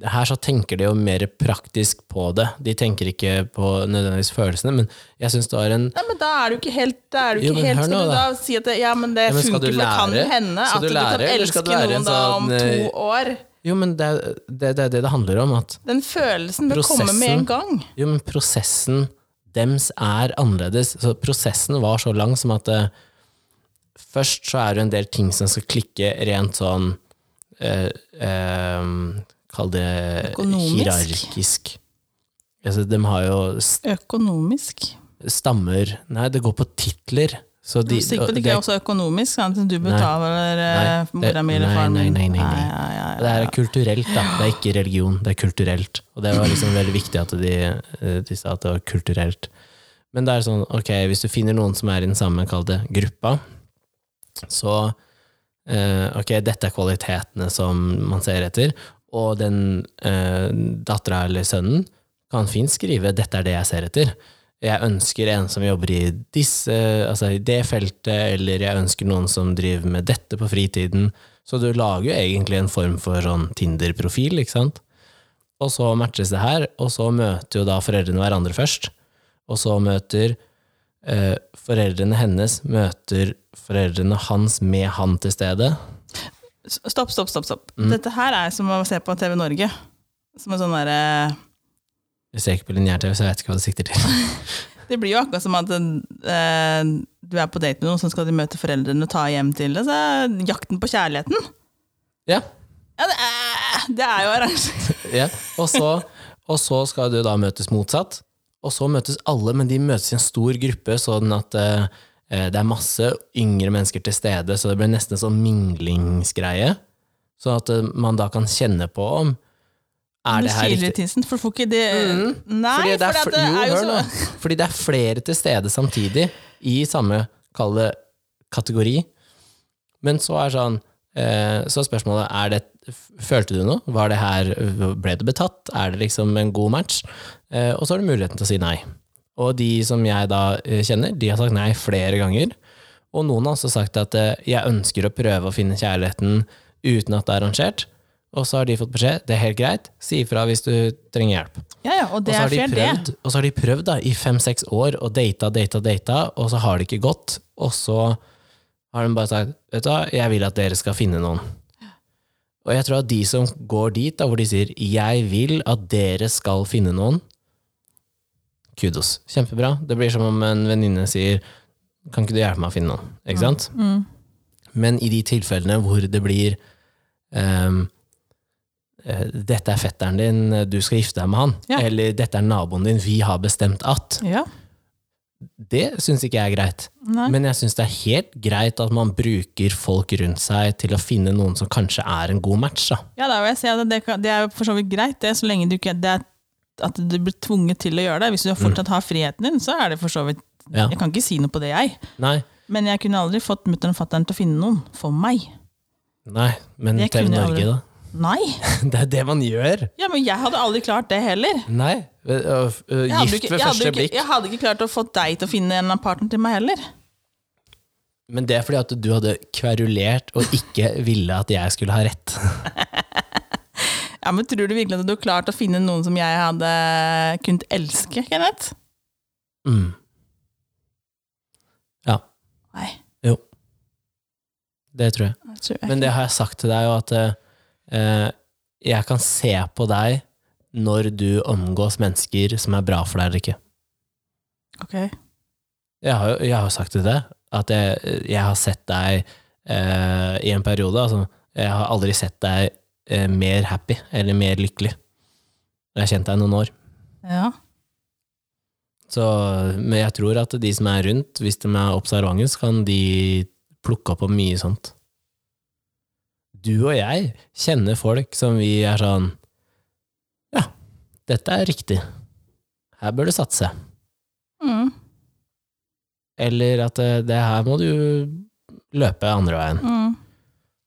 her så tenker de jo mer praktisk på det. De tenker ikke på nødvendigvis følelsene, men jeg syns det var en Nei, men da er du ikke helt Da er du Jo, ikke men helt hør Skal nå, du da da. si at det, ja, men det Ja, men skal funker, du for det kan jo lære? hende Skal at du du, lære, kan eller skal elske du være en noen da om sånn, eh, to år. Jo, men det er det det, er det, det handler om. At Den følelsen bør komme med Prosessen. en gang. Jo, men prosessen dems er annerledes. Så prosessen var så lang som at eh, først så er det en del ting som skal klikke rent sånn eh, eh, Kall det Økonomisk? hierarkisk. Altså, de har jo s- Økonomisk. stammer Nei, det går på titler. Så de, Sikkert det- ikke er også økonomisk, sant? du betaler Nei, eh, det- mora mi eller nei, faren nei, min. nei, nei, nei. ja, ja, ja. Det er kulturelt, da. Det er ikke religion, det er kulturelt. Og det var liksom veldig viktig at de, eh, de sa at det var kulturelt. Men det er sånn, ok, hvis du finner noen som er i den samme, kall det, gruppa, så eh, Ok, dette er kvalitetene som man ser etter, og den uh, dattera eller sønnen kan fint skrive 'dette er det jeg ser etter'. Jeg ønsker en som jobber i, disse, altså i det feltet, eller jeg ønsker noen som driver med dette på fritiden. Så du lager jo egentlig en form for sånn Tinder-profil, ikke sant? Og så matches det her, og så møter jo da foreldrene hverandre først. Og så møter eh, foreldrene hennes møter foreldrene hans med han til stede. Stopp, stopp, stopp. stopp. Mm. Dette her er som å se på TV Norge. Som en sånn derre Hvis jeg ikke på linjær-TV, så vet jeg ikke hva det sikter til. [LAUGHS] Det blir jo akkurat som at eh, du er på date med noen, så skal de møte foreldrene og ta hjem til deg. Så er jakten på kjærligheten. Ja, Ja, det er, det er jo arrangert. ja. Og, så, og så skal du da møtes motsatt. Og så møtes alle, men de møtes i en stor gruppe, sånn at eh, eh, det er masse yngre mennesker til stede, så det blir nesten en sånn minglingsgreie. Sånn at eh, man da kan kjenne på om er Du det her kiler i riktig. Mm. tissen, for du får ikke det Nei, Fordi det, er, for fl- det er jo jo, hør så nå. Fordi det er flere til stede samtidig i samme, kall det, kategori. Men så er sånn eh, Så er spørsmålet er det, Følte du noe? Var det her, ble det betatt? Er det liksom en god match? Eh, og så er det muligheten til å si nei. Og de som jeg da eh, kjenner, de har sagt nei flere ganger. Og noen har også sagt at eh, jeg ønsker å prøve å finne kjærligheten uten at det er arrangert. Og så har de fått beskjed det er helt greit, si ifra hvis du trenger hjelp. Ja, ja, og Og det så har er de fair, det. prøvd, og så har de prøvd da, i fem-seks år og data, data, data, og så har det ikke gått. Og så har de bare sagt vet du hva, jeg vil at dere skal finne noen. Og jeg tror at de som går dit, da, hvor de sier 'jeg vil at dere skal finne noen', kudos. Kjempebra. Det blir som om en venninne sier 'kan ikke du hjelpe meg å finne noen'? Ikke sant? Mm. Men i de tilfellene hvor det blir ehm, eh, dette er fetteren din, du skal gifte deg med han. Ja. Eller dette er naboen din, vi har bestemt at. Ja. Det syns ikke jeg er greit. Nei. Men jeg syns det er helt greit at man bruker folk rundt seg til å finne noen som kanskje er en god match. Da. Ja, da vil jeg si at det, kan, det er jo for så vidt greit, det, så lenge du ikke det er, at du blir tvunget til å gjøre det. Hvis du fortsatt har friheten din, så er det for så vidt Mm. Ja. Jeg kan ikke si noe på det, jeg. Nei, Men jeg kunne aldri fått mutter'n og fatter'n til å finne noen for meg. nei, men Det TV kunne jeg Norge, aldri- da. [LAUGHS] Nei! Det er det man gjør! Ja, men jeg hadde aldri klart det heller. Nei. øh, øh, Jeg hadde Gift ikke- ved jeg hadde første ikke- blikk. Jeg hadde ikke klart å få deg til å finne en eller annen partner til meg heller. Men det er fordi at du hadde kverulert og ikke ville at jeg skulle ha rett. Ja, men Tror du virkelig at du har klart å finne noen som jeg hadde kunnet elske, Kenneth? Mm. Ja, Nei, det tror jeg. det tror jeg Men det ikke. har jeg sagt til deg jo at eh, jeg kan se på deg når du omgås mennesker som er bra for deg eller ikke. Ok. Jeg har jo jeg har jo sagt til deg at jeg, jeg har sett deg eh, i en periode altså, Jeg har aldri sett deg eh, mer happy eller mer lykkelig. Jeg har kjent deg noen år. Ja. Så, men jeg tror at de som er rundt, hvis de er observante, så kan de plukke opp på mye sånt. Du og jeg kjenner folk som vi er sånn Ja, dette er riktig. Her bør du satse. Mm. Eller at eh, det her må du løpe andre veien. Mm.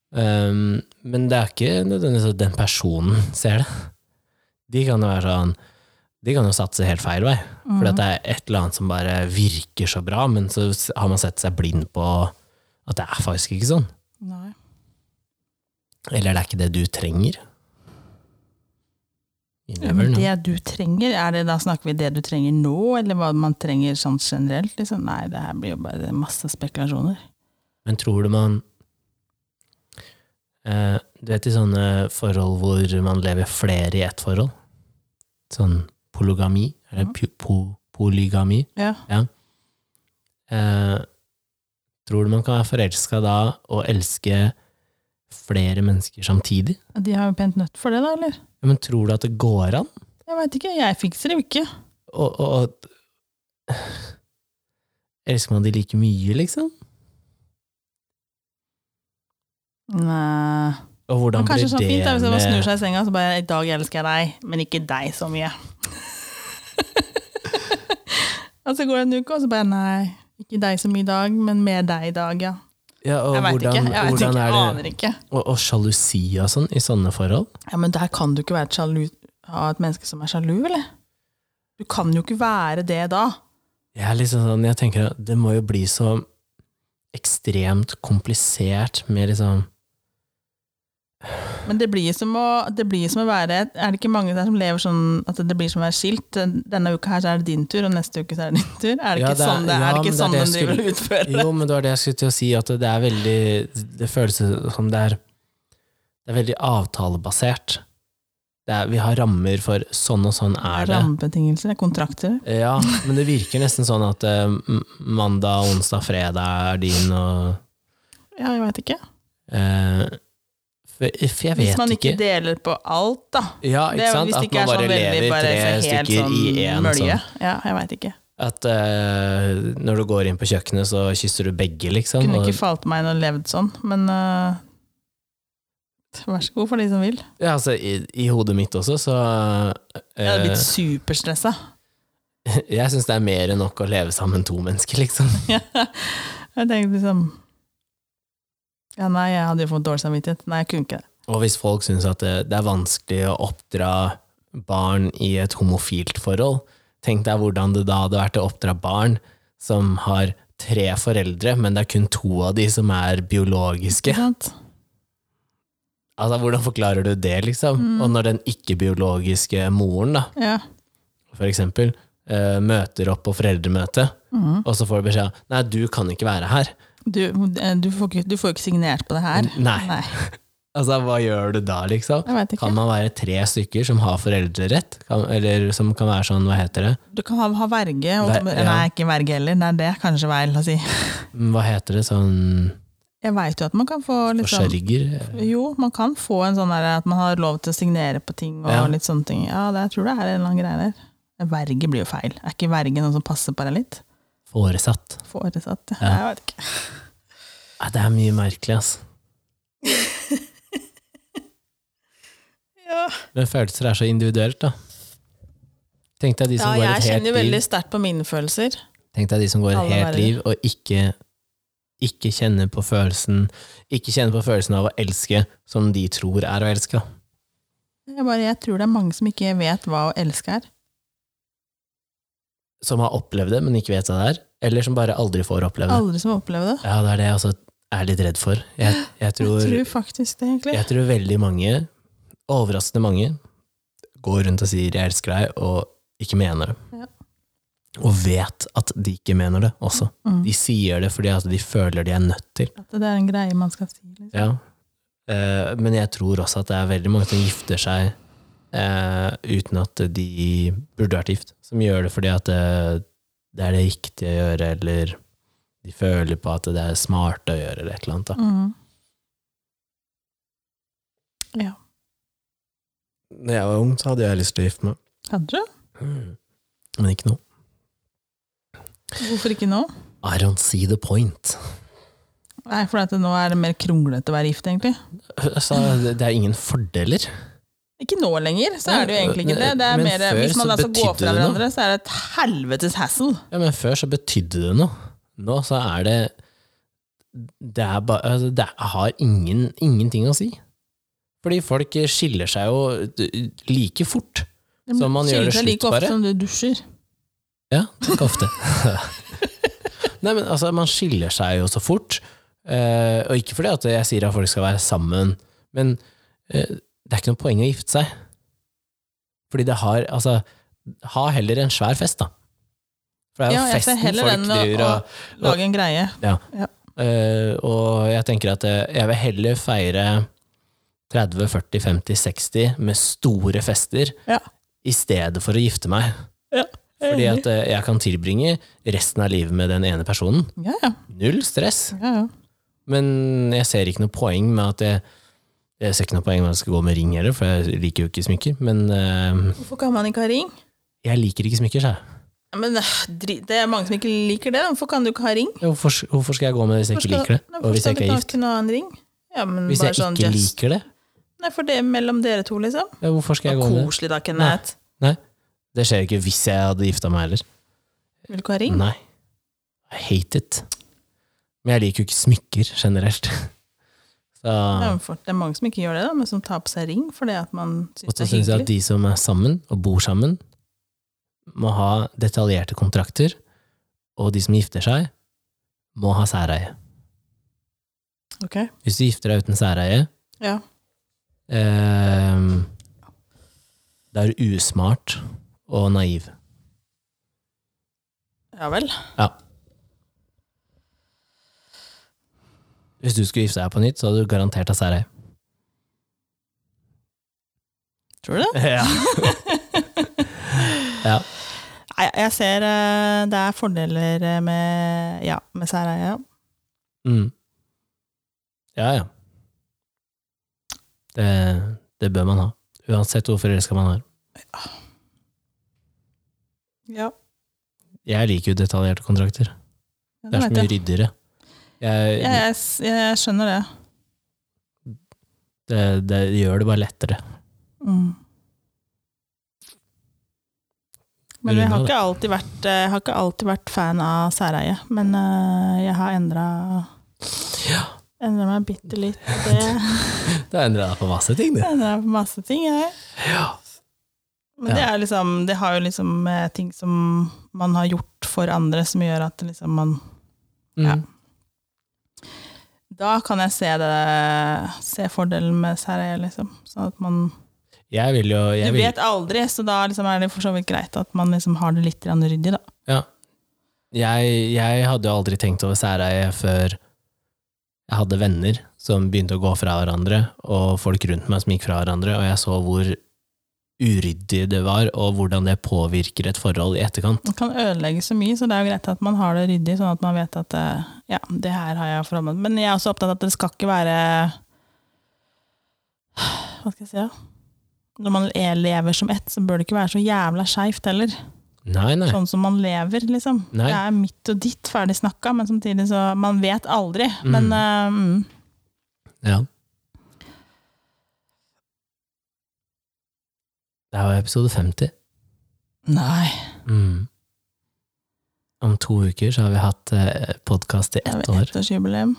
Um, men det er ikke nødvendigvis at den personen ser det. De kan jo være sånn De kan jo satse helt feil vei. Mm. Fordi at det er et eller annet som bare virker så bra, men så s- har man sett seg blind på at det er faktisk ikke sånn. Nei. Eller det er ikke det du trenger. You Ja, never men know. Mm, det du trenger, er det, da snakker vi det du trenger nå, eller hva man trenger sånn generelt? Liksom? Nei, det her blir jo bare masse spekulasjoner. Men tror du man eh, Du vet i sånne forhold hvor man lever flere i ett forhold? Sånn polygami? Eller Mhm. pu- po- polygami? Ja. Eh, tror du man kan være forelska da og elske flere mennesker samtidig? De har jo pent nødt for det, da, eller? Ja, Men tror du at det går an? Jeg veit ikke, jeg fikser det jo ikke. Og, og at Elsker man de like mye, liksom? Nei. Og Men hvordan blir kanskje det sånn fint da, hvis man snur med seg i senga så bare 'I dag elsker jeg deg, men ikke deg så mye'. [LAUGHS] og så går det en uke, og så bare 'Nei, ikke deg så mye i dag, men mer deg i dag', ja. ja, og Jeg veit ikke. hvordan, Jeg vet hvordan ikke, er det aner ikke. Og, og sjalusi og sånn i sånne forhold? Ja, Men der kan du ikke være et sjalu, ha et menneske som er sjalu, eller? Du kan jo ikke være det da. Jeg er liksom sånn, jeg tenker at det må jo bli så ekstremt komplisert med [LAUGHS] liksom Men det blir som å, det blir som å være et- Er det ikke mange der som lever sånn at det blir som å være skilt? Den- Denne uka her så er det din tur, og neste uke så er det din tur? Er det Ja, ikke det er- sånn det er? ja, det men ikke det er sånn det den jeg driver og utfører? Jo, men det var det jeg skulle til å si, at det er veldig Det føles som det er Det er veldig avtalebasert. Det er, vi har rammer for sånn og sånn er det. Rammebetingelser, det er kontrakter. Ja, men det virker nesten sånn at eh, m- mandag, onsdag, fredag er din og Ja, jeg veit ikke. eh, for, eh, for jeg Hvis vet man ikke ikke. deler på alt, da. Ja, Det ikke er- sant? hvis At det ikke er man bare sånn veldig, lever bare tre så helt stykker i sånn én mølje. sånn. Ja, jeg veit ikke. At eh, når du går inn på kjøkkenet, så kysser du begge, liksom. Kunne Og, ikke falt meg inn og levd sånn, men øh, Vær så god for de som vil. ja, altså, i, I hodet mitt også, så eh, Jeg hadde blitt superstressa. [LAUGHS] Jeg syns det er mer enn nok å leve sammen to mennesker, liksom. [LAUGHS] jeg tenkte liksom Ja, nei, jeg hadde jo fått dårlig samvittighet. Nei, jeg kunne ikke det. Og hvis folk syns at det, det er vanskelig å oppdra barn i et homofilt forhold, tenk deg hvordan det da hadde vært å oppdra barn som har tre foreldre, men det er kun to av de som er biologiske. Ikke sant? Altså, Hvordan forklarer du det, liksom? Og når den ikke-biologiske moren, da, Ja. for eksempel, eh, møter opp på foreldremøte, Mhm. og så får du beskjed om nei, du kan ikke være her. Du, eh, du, får ikke, du får ikke signert på det her. Nei. nei Altså, hva gjør du da, liksom? jeg vet ikke. Kan man være tre stykker som har foreldrerett? Kan, eller som kan være sånn, hva heter det? Du kan ha, ha verge. Og, Ver- ja. Nei, ikke verge heller. Nei, det er kanskje feil å si. Mm, Hva heter det, sånn Jeg veit jo at man kan få litt sånn forsørger? Jo, man kan få en sånn der at man har lov til å signere på ting og Ja. litt sånne ting. Ja, det, jeg tror det er en eller annen greie der. Verge blir jo feil. Er ikke verge noen som passer på deg litt? Foresatt. Foresatt. Ja. Jeg vet ikke. Nei, det er mye merkelig, ass. Ja. Men følelser er så individuelt, da. Tenk deg de som går jeg et helt kjenner jo liv veldig sterkt på mine følelser. Tenk deg de som går et Alle helt verdener. liv og ikke, ikke kjenner på følelsen Ikke kjenner på følelsen av å elske som de tror er å elske. da. Jeg, bare, jeg tror det er mange som ikke vet hva å elske er. Som har opplevd det, men ikke vet hva det er. Eller som bare aldri får oppleve det. Aldri som har opplevd det. Ja, det er det jeg også er litt redd for. Jeg, jeg, [GASPS] Jeg tror, tror faktisk det, egentlig. jeg tror veldig mange, overraskende mange, går rundt og sier 'jeg elsker deg', og ikke mener det. Ja. Og vet at de ikke mener det også. Mm. De sier det fordi at de føler de er nødt til. At det er en greie man skal si. Liksom. Ja. Eh, men jeg tror også at det er veldig mange som gifter seg eh, uten at de burde vært gift, som gjør det fordi at det, det er det riktige å gjøre, eller de føler på at det er smart å gjøre, eller et eller annet. Da. Mm. Ja. Når jeg var ung, så hadde jeg lyst til å gifte meg. Hadde du? Mm. Men ikke nå. Hvorfor ikke nå? I don't see the point. Nei, for at det nå er det mer kronglete å være gift, egentlig. Altså, det det er ingen fordeler. Ikke nå lenger, så er det jo Nei, egentlig ikke det. det er men mer, før hvis man så da skal gå betydde fra det noe. hverandre, så er det et helvetes hassle. Ja, men før så betydde det noe. Nå så er det Det, er ba, altså, det har ingen, ingenting å si. Fordi folk skiller seg jo d- like fort. Så man gjør det Skiller seg slutt, like ofte bare? som du dusjer. Ja, ikke ofte. [LAUGHS] Nei, men altså, man skiller seg jo så fort. Eh, og ikke fordi at jeg sier at folk skal være sammen, men eh, det er ikke noe poeng å gifte seg. Fordi det har Altså, ha heller en svær fest, da. For det er jo Ja, jeg ser festen heller folk den å- driver og Lage en greie. Eh, og jeg tenker at eh, jeg vil heller feire 30, 40, 50, 60 med store fester Ja. i stedet for å gifte meg. Fordi at eh, jeg kan tilbringe resten av livet med den ene personen. Ja, ja. Null stress. ja, ja. Men jeg ser ikke noe poeng med at jeg jeg ser ikke noe poeng med at jeg skal gå med ring heller, for jeg liker jo ikke smykker. Men eh, Hvorfor kan man ikke ha ring? jeg liker ikke smykker, sa jeg. Men øh, dri- Det er mange som ikke liker det. da. Hvorfor kan du ikke ha ring? Hvorfor, hvorfor skal jeg gå med det hvis jeg Hvorfor ikke skal- liker det? Nei, Og hvorfor hvis skal jeg du ikke er ikke gift? kunne ha en ring? Ja, men Hvis bare jeg sånn ikke just- liker det, Nei, for det er mellom dere to, liksom. ja, hvorfor skal jeg gå med det? Koselig da, Kenneth. Det skjer jo ikke hvis jeg hadde gifta meg heller. Vil du ikke ha ring? Nei. I hate it. Men jeg liker jo ikke smykker generelt. [LAUGHS] Så, Ja, men for, det er mange som ikke gjør det, da, men som tar på seg ring fordi at man og syns det så er syns jeg at hyggelig. de som er sammen, og bor sammen, må ha detaljerte kontrakter, og de som gifter seg, må ha særeie. Ok. Hvis du gifter deg uten særeie, Ja. eh, da er du usmart og naiv. ja vel. Hvis du skulle gifte deg på nytt, så hadde du garantert hatt [LAUGHS] særeie. Tror du det? Ja. [LAUGHS] ja. Nei, jeg ser eh, det er fordeler eh, med, ja, med særeie. ja. Mm. Ja, ja. Det, det bør man ha. Uansett hvor forelska man er. Ja, Jeg liker jo detaljerte kontrakter. ja, Det er så vet mye jeg. ryddigere. Jeg, Ja, jeg, s- jeg skjønner det. det, det gjør det bare lettere. Mm. Men jeg har Runda, ikke alltid vært, eh, jeg har ikke alltid vært fan av særeie. Men eh, jeg har endra Endra meg bitte [LAUGHS] litt. og Det Det endrer deg på masse ting, det. endra på masse ting, jeg. Men det, er liksom, det har jo liksom eh, ting som man har gjort for andre, som gjør at liksom man Ja. Mm. Da kan jeg se, det, se fordelen med særeie, liksom. Sånn at man Jeg vil jo jeg Du vil, vet aldri, så da liksom er det for så vidt greit at man liksom har det litt grann ryddig, da. jeg, jeg hadde jo aldri tenkt over særeie før jeg hadde venner som begynte å gå fra hverandre, og folk rundt meg som gikk fra hverandre, og jeg så hvor uryddig det var, og hvordan det påvirker et forhold i etterkant. Man kan ødelegge så mye, så det er jo greit at man har det ryddig, sånn at man vet at eh, ja, det her har jeg forholdt meg til. Men jeg er også opptatt av at det skal ikke være Hva skal jeg si, da? Når man lever som ett, så bør det ikke være så jævla skeivt heller. Nei, nei. sånn som man lever, liksom. Nei. Det er mitt og ditt, ferdig snakka, men samtidig så Man vet aldri. Men eh, mm, Ja. Det er jo episode 50. Nei. Mm. Om to uker så har vi hatt eh, podkast i Det er ett vel år. ettårsjubileum.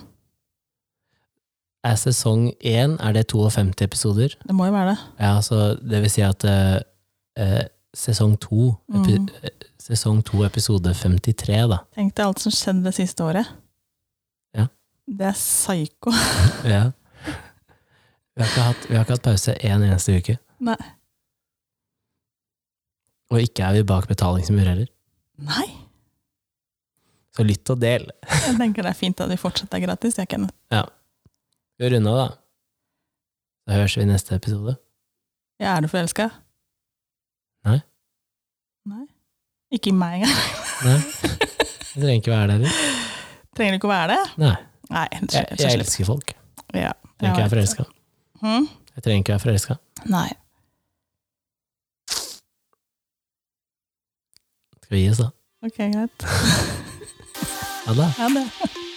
Er sesong én er det 52 episoder? Det må jo være det. Ja, så det vil si at eh, eh, sesong to epi Mm. eh, Sesong to, episode 53, da. Tenk deg alt som skjedde det siste året. Ja. Det er psyko. Ja. Vi har ikke hatt, vi har ikke hatt pause én eneste uke. Nei. Og ikke er vi bak betalingsmur heller. Nei! Så lytt og del. Jeg tenker det er fint at vi fortsatt er gratis. Jeg kan. Vi går unna, da. Da høres vi i neste episode. Ja, er du forelska? Nei. Nei. Ikke i meg engang. Nei. Jeg trenger ikke være der. eller? [LAUGHS] Trenger du ikke å være det? Nei. Nei. det Jeg, skjer- jeg skjer- elsker folk. Jeg Ja. trenger ikke Ja, være forelska. Hm? Jeg trenger ikke være forelska. Nei. Skal vi gi oss, da? Ok, greit. [LAUGHS] Ha det. Ha det.